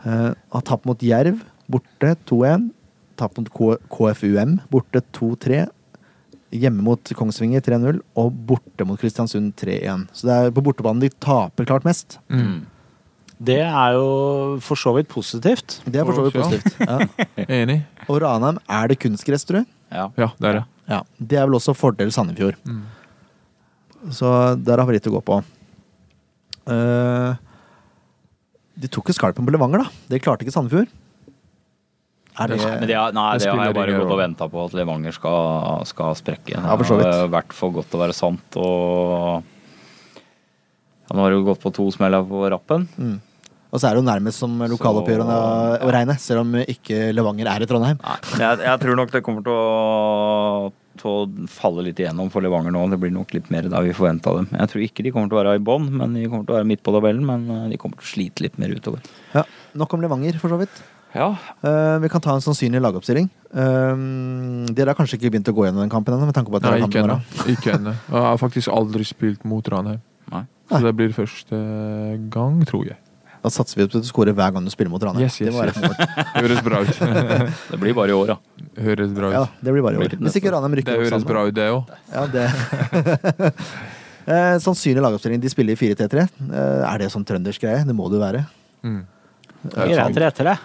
Speaker 1: Eh, Har tapt mot Jerv borte 2-1. Tapt mot K KFUM borte 2-3. Hjemme mot Kongsvinger 3-0 og borte mot Kristiansund 3-1. Så det er på bortebanen de taper klart mest.
Speaker 5: Mm.
Speaker 2: Det er jo for så vidt positivt.
Speaker 1: Det er for så vidt
Speaker 5: Ja.
Speaker 1: positivt. Ja.
Speaker 5: Enig?
Speaker 1: Og Ranheim, er det kunstgress, tror du?
Speaker 4: Ja.
Speaker 5: Ja, det er det.
Speaker 1: Ja. Det er vel også fordel Sandefjord.
Speaker 5: Mm.
Speaker 1: Så der har vi litt å gå på. Eh, de tok jo skalpen på Levanger, da. Det klarte ikke Sandefjord. Er det,
Speaker 4: Men det, er- nei,
Speaker 5: Det
Speaker 4: det, har
Speaker 5: spiller
Speaker 4: jeg bare
Speaker 5: ingen
Speaker 4: gått og
Speaker 5: rolle.
Speaker 4: venta på at Levanger skal, skal sprekke.
Speaker 1: Ja, for så
Speaker 4: Det har
Speaker 1: vidt.
Speaker 4: vært for godt til å være sant. Og ja, nå har det jo gått på to smeller på rappen.
Speaker 1: Mm. Og så er det jo nærmest som lokaloppgjørene
Speaker 4: Så-
Speaker 1: å regne, selv om ikke Levanger er i Trondheim.
Speaker 4: Nei, jeg, jeg tror nok det kommer til å, til å falle litt igjennom for Levanger nå. Det blir nok litt mer da vi forventa dem. Jeg tror ikke de kommer til å være i bånn, men de kommer til å være midt på tabellen. Men eh, de kommer til å slite litt mer utover.
Speaker 1: Ja. Nok om Levanger, for så vidt.
Speaker 4: Ja,
Speaker 1: Eh, vi kan ta en sannsynlig lagoppstilling. Eh, dere har kanskje ikke begynt å gå gjennom den kampen ennå? med tanke på at
Speaker 5: Nei,
Speaker 1: dere har kamp i
Speaker 5: ikke ennå.
Speaker 1: morgen.
Speaker 5: Ikke ennå. Og Jeg har faktisk aldri spilt mot Ranheim.
Speaker 4: Nei.
Speaker 5: Så det blir første gang, tror jeg.
Speaker 1: Da satser vi på at du scorer hver gang du spiller mot Ranheim.
Speaker 5: Yes, yes,
Speaker 1: det, må være
Speaker 5: yes.
Speaker 1: målet.
Speaker 5: Høres bra ut.
Speaker 4: det blir bare i år, ja.
Speaker 5: Høres bra
Speaker 1: ja,
Speaker 5: ut.
Speaker 1: det blir bare i år. Hvis ikke Ranheim
Speaker 5: Det
Speaker 1: rykker
Speaker 5: høres
Speaker 1: opp
Speaker 5: bra
Speaker 1: sammen.
Speaker 5: ut, det òg.
Speaker 1: Ja, det. Eh, sannsynlig lagoppstilling. De spiller i 4-3-3. Eh, er det sånn trøndersk greie? Det må det jo være.
Speaker 5: Mm.
Speaker 2: Vi retter etter det.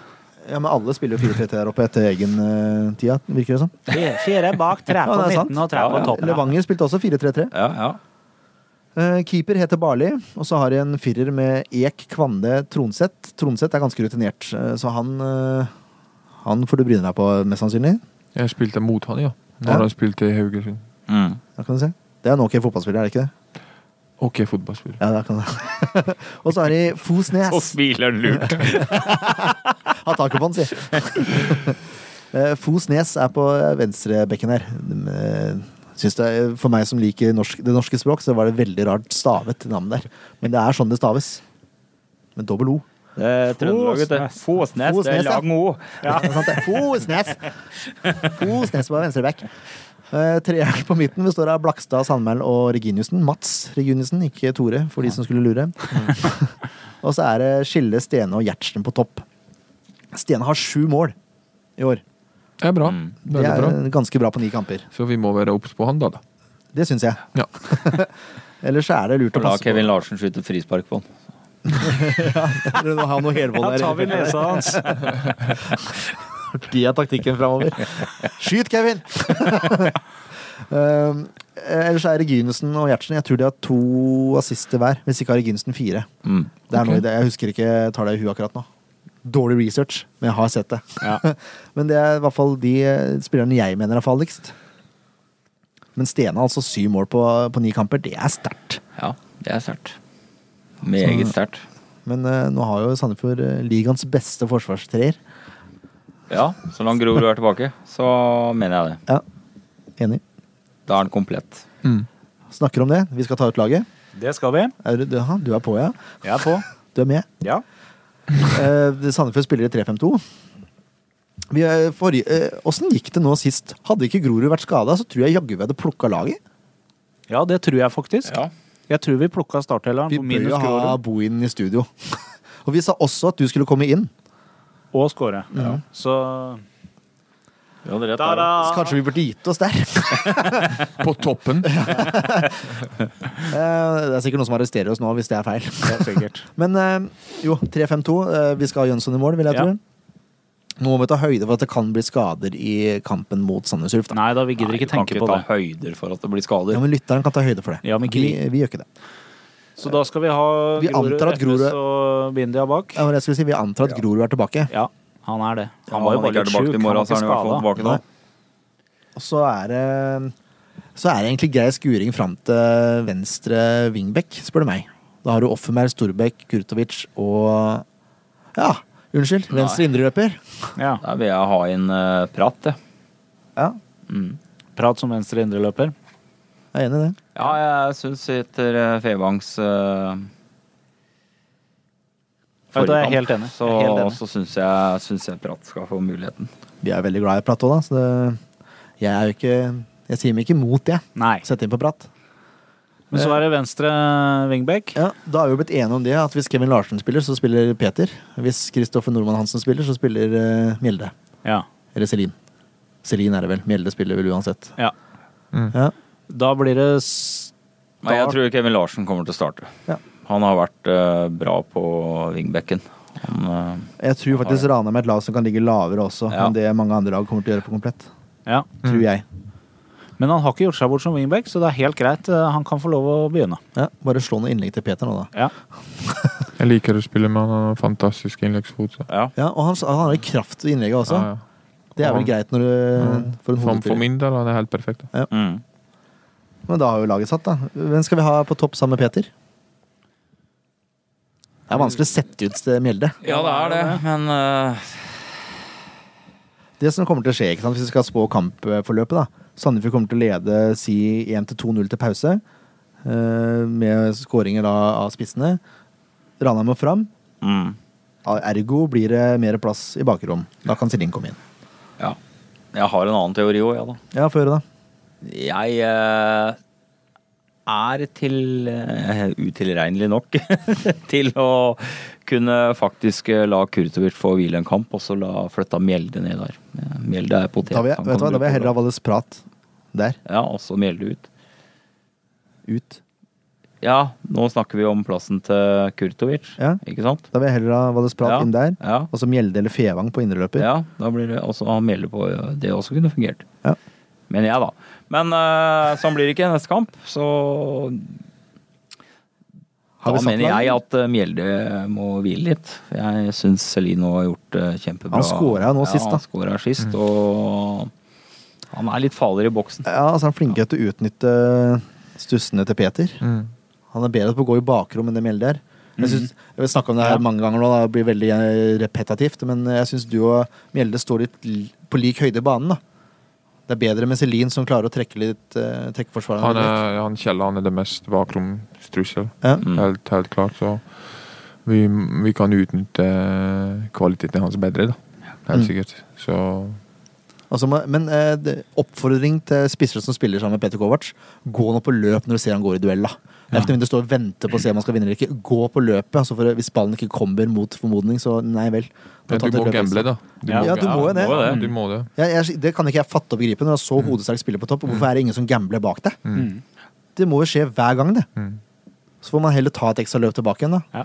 Speaker 1: Ja, Men alle spiller jo 4-3-3 der oppe etter egen eh, tida, virker det som.
Speaker 2: Fire- Fire bak, tre på
Speaker 1: Ja, det er sant.
Speaker 2: midten og tre på
Speaker 4: Ja, ja.
Speaker 2: toppen. ja.
Speaker 1: Levanger spilte også 4-3-3.
Speaker 4: Ja, ja.
Speaker 1: Eh, keeper heter Barli, og så har de en firer med Ek, Kvande, Tronseth. Tronseth er ganske rutinert, eh, så han eh, Han får du bryne deg på, mest sannsynlig.
Speaker 5: Jeg spilte mot han, ja. Når
Speaker 1: Ja.
Speaker 5: han spilte i Haugesund.
Speaker 4: Mm.
Speaker 1: Da kan du se. Det er en ok fotballspiller, er det ikke det?
Speaker 5: Ok, fotballspiller.
Speaker 1: Ja, da kan du. og så har de
Speaker 4: Og
Speaker 1: Fosnes.
Speaker 4: smiler han lurt.
Speaker 1: Ha taket på han, si. Eh, Fosnes er på eh, venstrebekken her. Mm, eh, Synes det, er- for meg som liker norsk, det norske språk, så var det veldig rart stavet navn der. Men det er sånn det staves. Med dobbel O.
Speaker 4: Det er Trøndelag, vet du. Fåsnes. Det
Speaker 1: Fåsnes,
Speaker 4: er
Speaker 1: ja.
Speaker 4: lang å.
Speaker 1: Ja. sant det? Fosnes! Fosnes var venstreback. Uh, Treeren på midten består av Blakstad, Sandmæl og Reginiussen. Mats Reginiussen, ikke Tore, for de som skulle lure. og så er det Skille, Stene og Gjertsen på topp. Stene har sju mål i år.
Speaker 5: Det er bra.
Speaker 4: Mm.
Speaker 1: Det
Speaker 5: Veldig
Speaker 1: er
Speaker 5: bra.
Speaker 1: ganske bra på ni kamper.
Speaker 5: Så vi må være obs på han, da. da.
Speaker 1: Det syns jeg.
Speaker 5: Ja.
Speaker 1: Ellers er det lurt å
Speaker 4: Og la
Speaker 1: passe
Speaker 4: Kevin
Speaker 1: på.
Speaker 4: Larsen skyte frispark på han.
Speaker 1: Eller å ha noe helvold
Speaker 2: Da
Speaker 1: der.
Speaker 2: tar vi nesa hans.
Speaker 1: Det er taktikken framover. Skyt, Kevin! um, ellers er Reginesen og Gjertsen Jeg tror de har to assister hver. Hvis ikke har Reginesen fire.
Speaker 4: Mm.
Speaker 1: Det er noe i det. Jeg husker ikke jeg tar det i huet akkurat nå. Dårlig research, men jeg har sett det. men det er i hvert fall de eh, spillerne jeg mener er farligst. Men Stene, altså syv mål på, på ni kamper, det er sterkt.
Speaker 4: Ja, det er sterkt. Meget sterkt.
Speaker 1: Men eh, nå har jo Sandefjord eh, ligaens beste forsvarstreer.
Speaker 4: Ja, så langt Grorud er tilbake, så mener jeg det.
Speaker 1: Ja, enig.
Speaker 4: Da er han komplett.
Speaker 1: Snakker om det. Vi skal ta ut laget.
Speaker 2: Det skal vi.
Speaker 1: Er du, ja, du er på, ja?
Speaker 2: Jeg er på.
Speaker 1: Du er med.
Speaker 2: Ja.
Speaker 1: Eh, Sandefjord spiller i 3-5-2. Vi er forrige- eh, Åssen gikk det nå sist? Hadde ikke Grorud vært skada, så tror jeg jaggu vi hadde plukka laget.
Speaker 2: ja, det tror jeg faktisk.
Speaker 4: Ja.
Speaker 2: Jeg tror vi plukka startdeleren
Speaker 1: Vi
Speaker 2: på
Speaker 1: bør
Speaker 2: minus
Speaker 1: jo ha
Speaker 2: Grorud
Speaker 1: Bohin i studio. Og vi sa også at du skulle komme inn.
Speaker 2: og score. Så
Speaker 4: Du hadde rett.
Speaker 2: Da, da.
Speaker 4: Harald.
Speaker 1: Så kanskje vi burde gitt oss der.
Speaker 5: På toppen.
Speaker 1: Eh, det er sikkert noen som arresterer oss nå hvis det er feil.
Speaker 2: Helt sikkert.
Speaker 1: Men eh, jo, 3-5-2. eh, vi skal ha Jønsson i mål, vil jeg
Speaker 2: Ja.
Speaker 1: tro. Nå må vi ta høyde for at det kan bli skader i kampen mot Sandnes Ulf. da.
Speaker 2: Nei da, vi gidder
Speaker 4: Nei,
Speaker 2: ikke
Speaker 4: du kan
Speaker 2: tenke
Speaker 4: ikke
Speaker 2: på
Speaker 4: ta
Speaker 2: det.
Speaker 4: høyder for at det blir skader.
Speaker 1: Ja, men lytteren kan ta høyde for det.
Speaker 2: Ja, men ikke
Speaker 1: vi,
Speaker 2: vi.
Speaker 1: vi gjør ikke det.
Speaker 2: Så da skal vi ha
Speaker 1: Vi antar at Grorud-
Speaker 2: FS og Bindia bak.
Speaker 1: Ja, men jeg skulle si, vi antar at Grorud er tilbake.
Speaker 2: Ja, han er det.
Speaker 4: Ja,
Speaker 2: Han var jo
Speaker 4: ikke
Speaker 2: bare
Speaker 4: er
Speaker 2: litt
Speaker 4: tilbake
Speaker 2: sjuk.
Speaker 4: til i
Speaker 2: Han
Speaker 4: morgen,
Speaker 2: var
Speaker 4: så
Speaker 2: ikke
Speaker 4: er han i hvert fall
Speaker 2: skada.
Speaker 4: tilbake da.
Speaker 1: Og så er det Så er det egentlig grei skuring fram til venstre wingback, spør du meg. Da har du Offenberg, Storbekk, Kurtovic og Ja, unnskyld. Venstre indreløper.
Speaker 2: Ja.
Speaker 4: Der vil jeg ha inn eh, prat, jeg.
Speaker 1: Ja,
Speaker 4: Mm.
Speaker 2: Prat som venstre indreløper.
Speaker 1: jeg er enig i det.
Speaker 4: Ja, jeg syns etter eh, Fevangs uh,
Speaker 2: Ja, da er jeg helt enig.
Speaker 4: så,
Speaker 2: Jeg er helt enig.
Speaker 4: så syns jeg, syns jeg Prat skal få muligheten.
Speaker 1: Vi er veldig glad i prat òg, da, så det, jeg er jo ikke Jeg sier meg ikke imot det.
Speaker 2: Nei.
Speaker 1: Sette inn på prat.
Speaker 2: Men så er det venstre wingback.
Speaker 1: Ja, Da er vi jo blitt enige om det, at hvis Kevin Larsen spiller, så spiller Peter. Hvis Kristoffer Nordmann Hansen spiller, så spiller eh, Mjelde.
Speaker 2: Ja.
Speaker 1: Eller Celine. Celine er det vel. Mjelde spiller vel uansett.
Speaker 2: ja.
Speaker 1: Ja.
Speaker 2: Da blir det s-
Speaker 4: Nei, jeg
Speaker 2: Start.
Speaker 4: tror Kevin Larsen kommer til å starte.
Speaker 1: Ja.
Speaker 4: Han har vært eh, bra på wingbacken. Han, eh,
Speaker 1: Jeg tror faktisk Ranheim er et lag som kan ligge lavere også
Speaker 4: Ja.
Speaker 1: enn det mange andre lag kommer til å gjøre på komplett.
Speaker 2: Ja.
Speaker 1: Tror
Speaker 5: Mm.
Speaker 1: jeg.
Speaker 2: Men han har ikke gjort seg bort som wingback, så det er helt greit. Eh, Han kan få lov å begynne.
Speaker 1: Ja, bare slå noen innlegg til Peter nå, da.
Speaker 2: Ja.
Speaker 5: Jeg liker å spille med han. Han har fantastisk innleggsfot. så.
Speaker 4: ja.
Speaker 1: Ja, og han, han har jo kraft i innlegget også.
Speaker 5: Ja, ja.
Speaker 1: Det er vel
Speaker 5: Han- Mm.
Speaker 1: greit når du, for en
Speaker 5: For, for
Speaker 1: hodespiller.
Speaker 5: min del han er helt perfekt. da.
Speaker 4: Mm.
Speaker 1: Men da har jo laget satt, da. Hvem skal vi ha på topp sammen med Peter? Det er vanskelig å sette ut eh, Mjelde.
Speaker 4: ja, det er det, men eh,
Speaker 1: Det som kommer til å skje, ikke sant, hvis vi skal spå kampforløpet, da. Sandefjord kommer til å lede si 1-2-0 til pause, eh, med skåringer da av spissene. Ranheim må fram.
Speaker 4: mm.
Speaker 1: Ergo blir det mer plass i bakrom. Da kan Celine komme inn.
Speaker 4: Ja. Jeg har en annen teori òg, jeg, da.
Speaker 1: Ja, få høre, da.
Speaker 4: Jeg eh, er til eh, utilregnelig nok til å kunne faktisk eh, la Kurtovic få hvile en kamp, og så la flytta Mjelde ned der. Eh, Mjelde er potet.
Speaker 1: Da vil jeg,
Speaker 4: han
Speaker 1: vet
Speaker 4: kan
Speaker 1: du hva, da vil jeg
Speaker 4: bruke
Speaker 1: heller ha
Speaker 4: bra.
Speaker 1: Valles prat der.
Speaker 4: Ja, og så Mjelde ut.
Speaker 1: Ut.
Speaker 4: Ja, nå snakker vi om plassen til Kurtovic,
Speaker 1: Ja.
Speaker 4: ikke sant?
Speaker 1: Da vil jeg heller ha Valles prat
Speaker 4: Ja.
Speaker 1: inn der.
Speaker 4: Ja.
Speaker 1: Og så Mjelde eller Fevang på indreløper.
Speaker 4: ja, da blir det også han Mjelde på. ja, Det også kunne fungert.
Speaker 1: Ja.
Speaker 4: Mener jeg, da. Men eh, sånn blir det ikke neste kamp, så
Speaker 1: Har vi
Speaker 4: da
Speaker 1: satt
Speaker 4: mener
Speaker 1: lag?
Speaker 4: jeg at eh, Mjelde må hvile litt. Jeg syns Celine har gjort det kjempebra.
Speaker 1: Han scora nå sist, da.
Speaker 4: Han scora sist, og han er litt farligere i boksen.
Speaker 1: Ja, altså Han er flinkere til å utnytte stussene til Peter.
Speaker 5: Mm.
Speaker 1: Han er bedre på å gå i bakrom enn det Mjelde er.
Speaker 4: Mhm.
Speaker 1: Jeg, synes, jeg vil snakke om det her mange ganger nå, det blir veldig eh, repetitivt, men jeg syns du og Mjelde står litt li- på lik høyde i banen. da. Det er bedre med Celine som klarer å trekke litt eh, trekke forsvaret.
Speaker 5: Han, er, han Kjell han er det mest bakromstrussel.
Speaker 1: Ja.
Speaker 5: Helt, helt klart. Så Vi, vi kan utnytte kvaliteten hans bedre, da.
Speaker 1: Mm.
Speaker 5: Helt sikkert. Så
Speaker 1: Altså, må- men eh, det- oppfordring til spissere som spiller sammen med Peter Kovac. Gå nå på løp når du ser han går i duell. da. Det er ikke noe vits å stå og vente på å se om han skal vinne eller ikke. Gå på løpet. Altså for hvis ballen ikke kommer mot formodning, så nei vel. Da
Speaker 5: men
Speaker 1: ta
Speaker 5: du
Speaker 1: til
Speaker 5: må
Speaker 1: løpet.
Speaker 5: gamble, da. Du
Speaker 2: Ja.
Speaker 1: Ja, du må jo det.
Speaker 4: må
Speaker 5: Du må det.
Speaker 1: Ja, jeg, det kan ikke jeg fatte og begripe når du har så
Speaker 5: Mm.
Speaker 1: hodesterk spiller på topp. Hvorfor er det ingen som gambler bak deg?
Speaker 2: Mm.
Speaker 1: Det må jo skje hver gang, det.
Speaker 5: Mm.
Speaker 1: Så får man heller ta et ekstra løp tilbake igjen, da.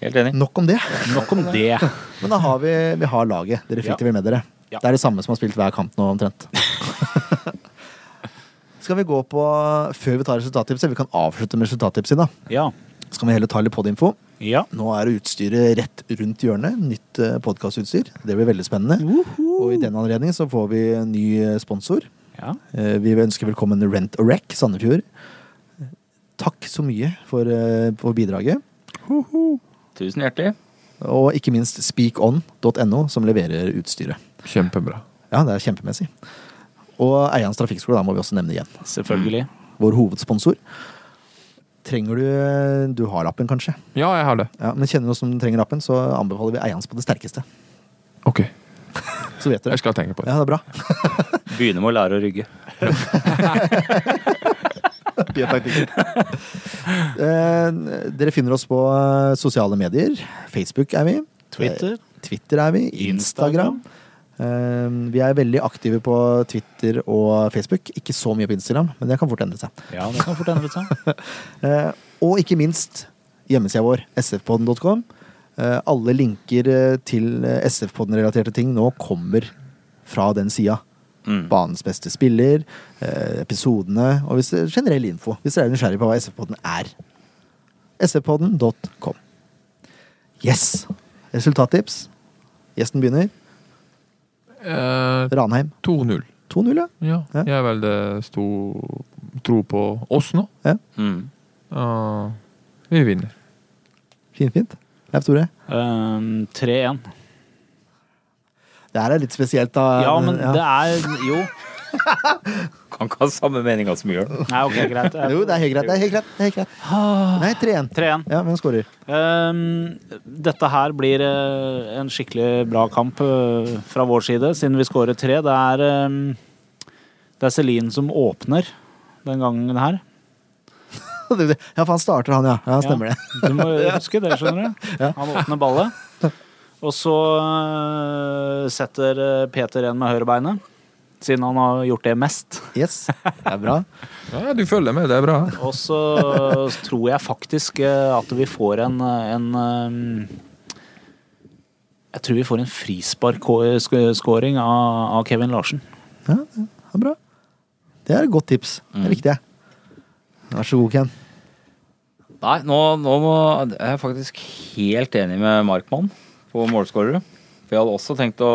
Speaker 4: Helt enig.
Speaker 1: Nok om det.
Speaker 2: Mm. Nok om det.
Speaker 1: Men da har vi, vi har laget. Dere fikk
Speaker 2: Ja.
Speaker 1: det vel med dere.
Speaker 2: Ja.
Speaker 1: Det er det samme som har spilt hver kamp nå, omtrent. Skal vi gå på Før vi tar resultattipset, vi kan avslutte med resultattipset, da.
Speaker 2: Ja.
Speaker 1: Så kan vi heller ta litt podinfo.
Speaker 2: ja.
Speaker 1: Nå er utstyret rett rundt hjørnet. Nytt podkastutstyr. Det blir veldig spennende. Og i den anledning så får vi en ny eh, sponsor.
Speaker 2: ja.
Speaker 1: Eh, Vi ønsker velkommen Rent a Wreck Sandefjord. Takk så mye for, eh, for bidraget.
Speaker 4: Tusen hjertelig.
Speaker 1: Og ikke minst speakon.no, som leverer utstyret.
Speaker 5: Kjempebra.
Speaker 1: Ja, det er kjempemessig. Og Eians trafikkskole, da må vi også nevne igjen.
Speaker 2: Selvfølgelig.
Speaker 1: Vår hovedsponsor. Trenger du Du har appen, kanskje?
Speaker 5: Ja, jeg har det.
Speaker 1: Ja, Men kjenner du noen som trenger appen, så anbefaler vi Eians på det sterkeste.
Speaker 5: OK.
Speaker 1: Så vet dere.
Speaker 5: Jeg skal tenke på det.
Speaker 1: Ja, det er bra.
Speaker 4: Begynner med å lære å rygge.
Speaker 1: Eh, Dere finner oss på eh, sosiale medier. Facebook er vi. Eh,
Speaker 2: Twitter.
Speaker 1: Twitter er vi. Instagram.
Speaker 2: Instagram.
Speaker 1: Eh, Vi er veldig aktive på Twitter og Facebook. Ikke så mye på Instagram, men det kan fort endre seg.
Speaker 2: Ja, det kan fort endre seg.
Speaker 1: Eh, Og ikke minst hjemmesida vår, sfpodden.com. Eh, Alle linker eh, til eh, SF-podden-relaterte ting nå kommer fra den sida.
Speaker 4: Mm.
Speaker 1: Banens beste spiller, eh, episodene og hvis det, generell info. Hvis dere er nysgjerrig på hva SF-podden er. SF-podden.com. Yes! Resultattips. Gjesten begynner.
Speaker 5: Eh,
Speaker 1: Ranheim
Speaker 5: 2-0.
Speaker 1: 2-0, ja.
Speaker 5: Ja.
Speaker 1: Ja.
Speaker 5: Jeg er veldig stor tro på oss nå.
Speaker 4: Mm.
Speaker 5: Eh, vi vinner.
Speaker 1: Fint, fint. Leif Tore.
Speaker 2: Ehm, 3-1.
Speaker 1: Det her er litt spesielt, da.
Speaker 2: Ja, men det er Jo.
Speaker 4: Kan ikke ha samme meninga som Jørn.
Speaker 2: Nei, ok, greit.
Speaker 1: Jo, det er helt greit. Det er helt greit. Det er helt greit. Nei, 3-1.
Speaker 2: 3-1.
Speaker 1: Ja, hvem skårer?
Speaker 2: Ehm, dette her blir eh, en skikkelig bra kamp eh, fra vår side, siden vi skårer tre. Det er, ehm, det er Celine som åpner den gangen her.
Speaker 1: Ja, for han starter, han, ja. Ja, Stemmer det.
Speaker 2: Du må huske det, skjønner du.
Speaker 1: Ja.
Speaker 2: Han åpner ballet. Og så eh, setter eh, Peter en med høyrebeinet, siden han har gjort det mest.
Speaker 1: Yes. Det er bra.
Speaker 5: Ja, du følger med. Det er bra.
Speaker 2: Og så tror jeg faktisk eh, at vi får en, en ehm, Jeg tror vi får en frisparkskåring av, av Kevin Larsen.
Speaker 1: Ja, det er bra. Det er et godt tips.
Speaker 4: Mm.
Speaker 1: Det likte jeg. Vær så god, Ken.
Speaker 4: Nei, nå, nå må, jeg er faktisk helt enig med Markmann på målskårere. For jeg hadde også tenkt å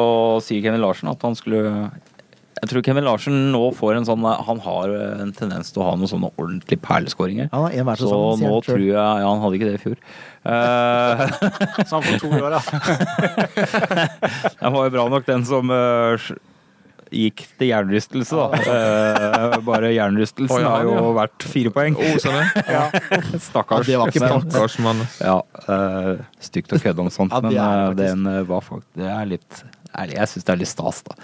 Speaker 4: si Kevin Larsen at han skulle Jeg tror Kevin Larsen nå får en sånn Han har en tendens til å ha noen sånne ordentlige perleskåringer.
Speaker 1: Han har en hver
Speaker 4: Så
Speaker 1: sesong. sier
Speaker 4: nå
Speaker 1: han selv.
Speaker 4: tror jeg Ja, han hadde ikke det i fjor. Eh,
Speaker 2: Så han får to år, da.
Speaker 4: Den var jo bra nok, den som eh, sj- gikk til jernrystelse, da. Eh, bare jernrystelsen
Speaker 5: Å, ja,
Speaker 4: har jo
Speaker 5: ja. Oh,
Speaker 4: verdt fire poeng.
Speaker 5: Osene.
Speaker 4: Stakkars.
Speaker 1: Ja, det var ikke
Speaker 4: Men-
Speaker 1: pent.
Speaker 5: Stakkars mann.
Speaker 4: Ja, eh, stygt å kødde om sånt,
Speaker 1: Ja, det
Speaker 4: men
Speaker 1: er
Speaker 4: eh,
Speaker 1: det faktisk.
Speaker 4: den eh, var faktisk Det er litt ærlig, Jeg syns det er litt stas, da.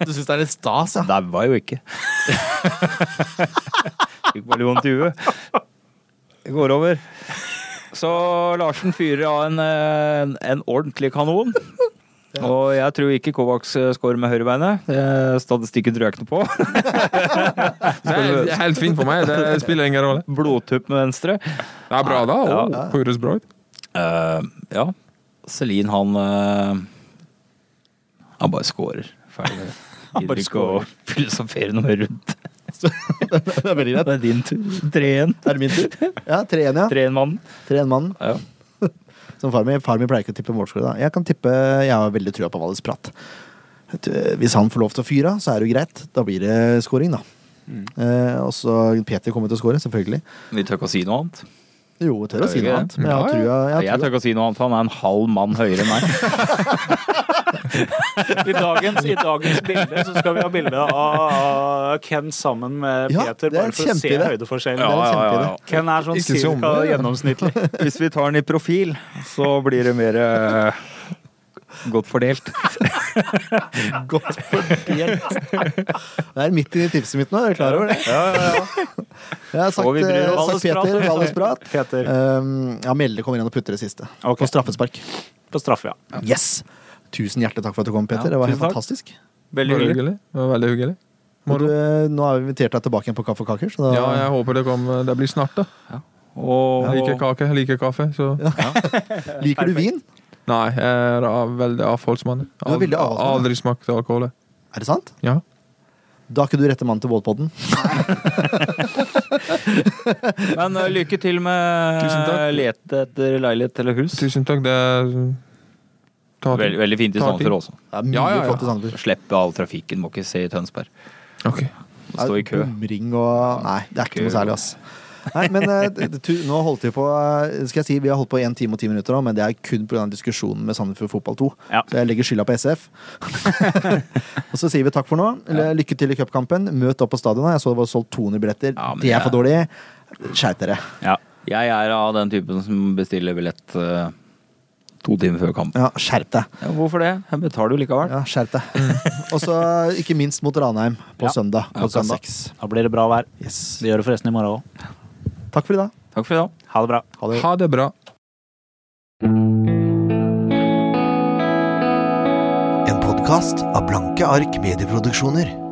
Speaker 1: Du syns det er litt stas, ja?
Speaker 4: Daua jo ikke. Fikk bare litt vondt i huet. Det går over. Så Larsen fyrer av en, eh, en ordentlig kanon. Og jeg tror ikke Kovacs eh, scorer med høyrebeinet. Det Statistikken tror jeg ikke noe på.
Speaker 5: Det er helt fint for meg. Det spiller ingen rolle.
Speaker 4: Blodtupp med venstre.
Speaker 5: Det er bra, da.
Speaker 4: Ja.
Speaker 5: Oh, høres bra ut.
Speaker 4: Eh, ja. Celine, han eh, Han bare scorer. Ferdig.
Speaker 2: Han bare
Speaker 4: Gidder ikke å filosofere noe rundt.
Speaker 1: Det er veldig greit.
Speaker 4: Det er din tur. 3-1.
Speaker 1: Er det min tur? Ja, 3-1, ja.
Speaker 4: 3-1-mannen.
Speaker 1: 3-1-mannen.
Speaker 4: Ja.
Speaker 1: Som far min, far min pleier ikke å tippe målskårer, da. Jeg kan tippe Jeg har veldig trua på Valles Prat. Vet du, Hvis han får lov til å fyre av, så er det jo greit. Da blir det scoring, da. Eh, og så Peter kommer til å score, selvfølgelig.
Speaker 4: Vi tør ikke å si noe annet.
Speaker 1: Jo, jeg tør å si noe annet. Men jeg har trua. Jeg
Speaker 4: Jeg,
Speaker 1: har
Speaker 4: tør
Speaker 1: trua.
Speaker 4: ikke å si noe annet, for han er en halv mann høyere enn meg.
Speaker 2: I dagens, I dagens bilde så skal vi ha bilde av av Ken sammen med
Speaker 1: Ja, det
Speaker 2: Peter,
Speaker 1: er
Speaker 2: bare for å se
Speaker 1: kjempeidé.
Speaker 2: høydeforskjellen.
Speaker 1: Ja, ja, ja, ja.
Speaker 2: Ken er sånn
Speaker 5: Ikke så
Speaker 2: cirka
Speaker 5: omvendt, ja.
Speaker 2: gjennomsnittlig.
Speaker 4: Hvis vi tar den i profil, så blir det mer eh, godt fordelt.
Speaker 1: Godt fordelt. Det er midt i tipset mitt nå, er du klar over det? Jeg har sagt,
Speaker 4: Og vi bryr
Speaker 1: eh,
Speaker 2: oss.
Speaker 1: sagt Peter,
Speaker 2: Valdesprat.
Speaker 1: Valdesprat.
Speaker 2: Peter.
Speaker 1: Um, ja, Melle kommer igjen og putter det siste.
Speaker 2: Ok.
Speaker 1: På straffespark.
Speaker 2: På straffe, ja.
Speaker 1: Yes! Tusen hjertelig takk for at du kom, Peter.
Speaker 4: Ja,
Speaker 1: det var helt
Speaker 4: tusen takk.
Speaker 1: fantastisk.
Speaker 4: Veldig hyggelig.
Speaker 5: Det var veldig hyggelig.
Speaker 1: Og Du, eh, nå har vi invitert deg tilbake igjen på Kaffe og kaker. Så da,
Speaker 5: Ja, jeg håper det, kom, det blir snart, da.
Speaker 4: Og
Speaker 5: Jeg liker kake, jeg liker kaffe. Så.
Speaker 1: Eh, liker du vin?
Speaker 5: Nei, jeg er av- veldig avholdsmann.
Speaker 1: Du er veldig avholdsmann, ja.
Speaker 5: Aldri smakt alkohol. jeg.
Speaker 1: Er det sant?
Speaker 5: Ja.
Speaker 1: Da er ikke du rette mannen til Bålpodden.
Speaker 4: Men eh, lykke til med
Speaker 5: Tusen takk.
Speaker 4: lete etter leilighet eller hus.
Speaker 5: Tusen takk. Det er Ta
Speaker 4: Veldig, veldig fint i
Speaker 5: Tar tid.
Speaker 4: Sandefjord også.
Speaker 1: Det er mye
Speaker 5: Ja, ja, ja.
Speaker 1: flott i Sandefjord.
Speaker 4: Slippe all trafikken, må ikke se i Tønsberg.
Speaker 5: Ok.
Speaker 4: Stå i kø.
Speaker 1: Bomring og Nei, det er ikke noe særlig, ass. Nei, men eh, det- tu, nå holdt vi på eh, Skal jeg si, Vi har holdt på 1 time og 10 minutter, nå, men det er kun pga. diskusjonen med Sandefjord Fotball 2.
Speaker 2: Ja.
Speaker 1: Så jeg legger skylda på SF. og så sier vi takk for nå. Eller, lykke til i cupkampen. Møt opp på stadionet. Jeg så det var solgt 200 billetter.
Speaker 4: Ja, men
Speaker 1: det er for
Speaker 4: jeg-
Speaker 1: dårlig. Skjerp dere.
Speaker 2: ja.
Speaker 4: Jeg er av den typen som bestiller billett eh, to timer før kamp.
Speaker 1: Ja, skjerp deg.
Speaker 4: Ja, hvorfor det? Jeg betaler jo likevel.
Speaker 1: Ja, skjerp deg. Og så ikke minst mot Ranheim på
Speaker 2: Ja.
Speaker 1: søndag
Speaker 4: Mm. Ja,
Speaker 1: klokka
Speaker 4: søndag.
Speaker 1: seks.
Speaker 2: Da blir det bra vær.
Speaker 1: Yes.
Speaker 2: Det gjør det forresten i morgen òg.
Speaker 1: Takk for i dag.
Speaker 4: Takk for i dag.
Speaker 2: Ha det bra.
Speaker 1: Ha det.
Speaker 5: Ha det bra.
Speaker 6: En podkast av Blanke ark medieproduksjoner.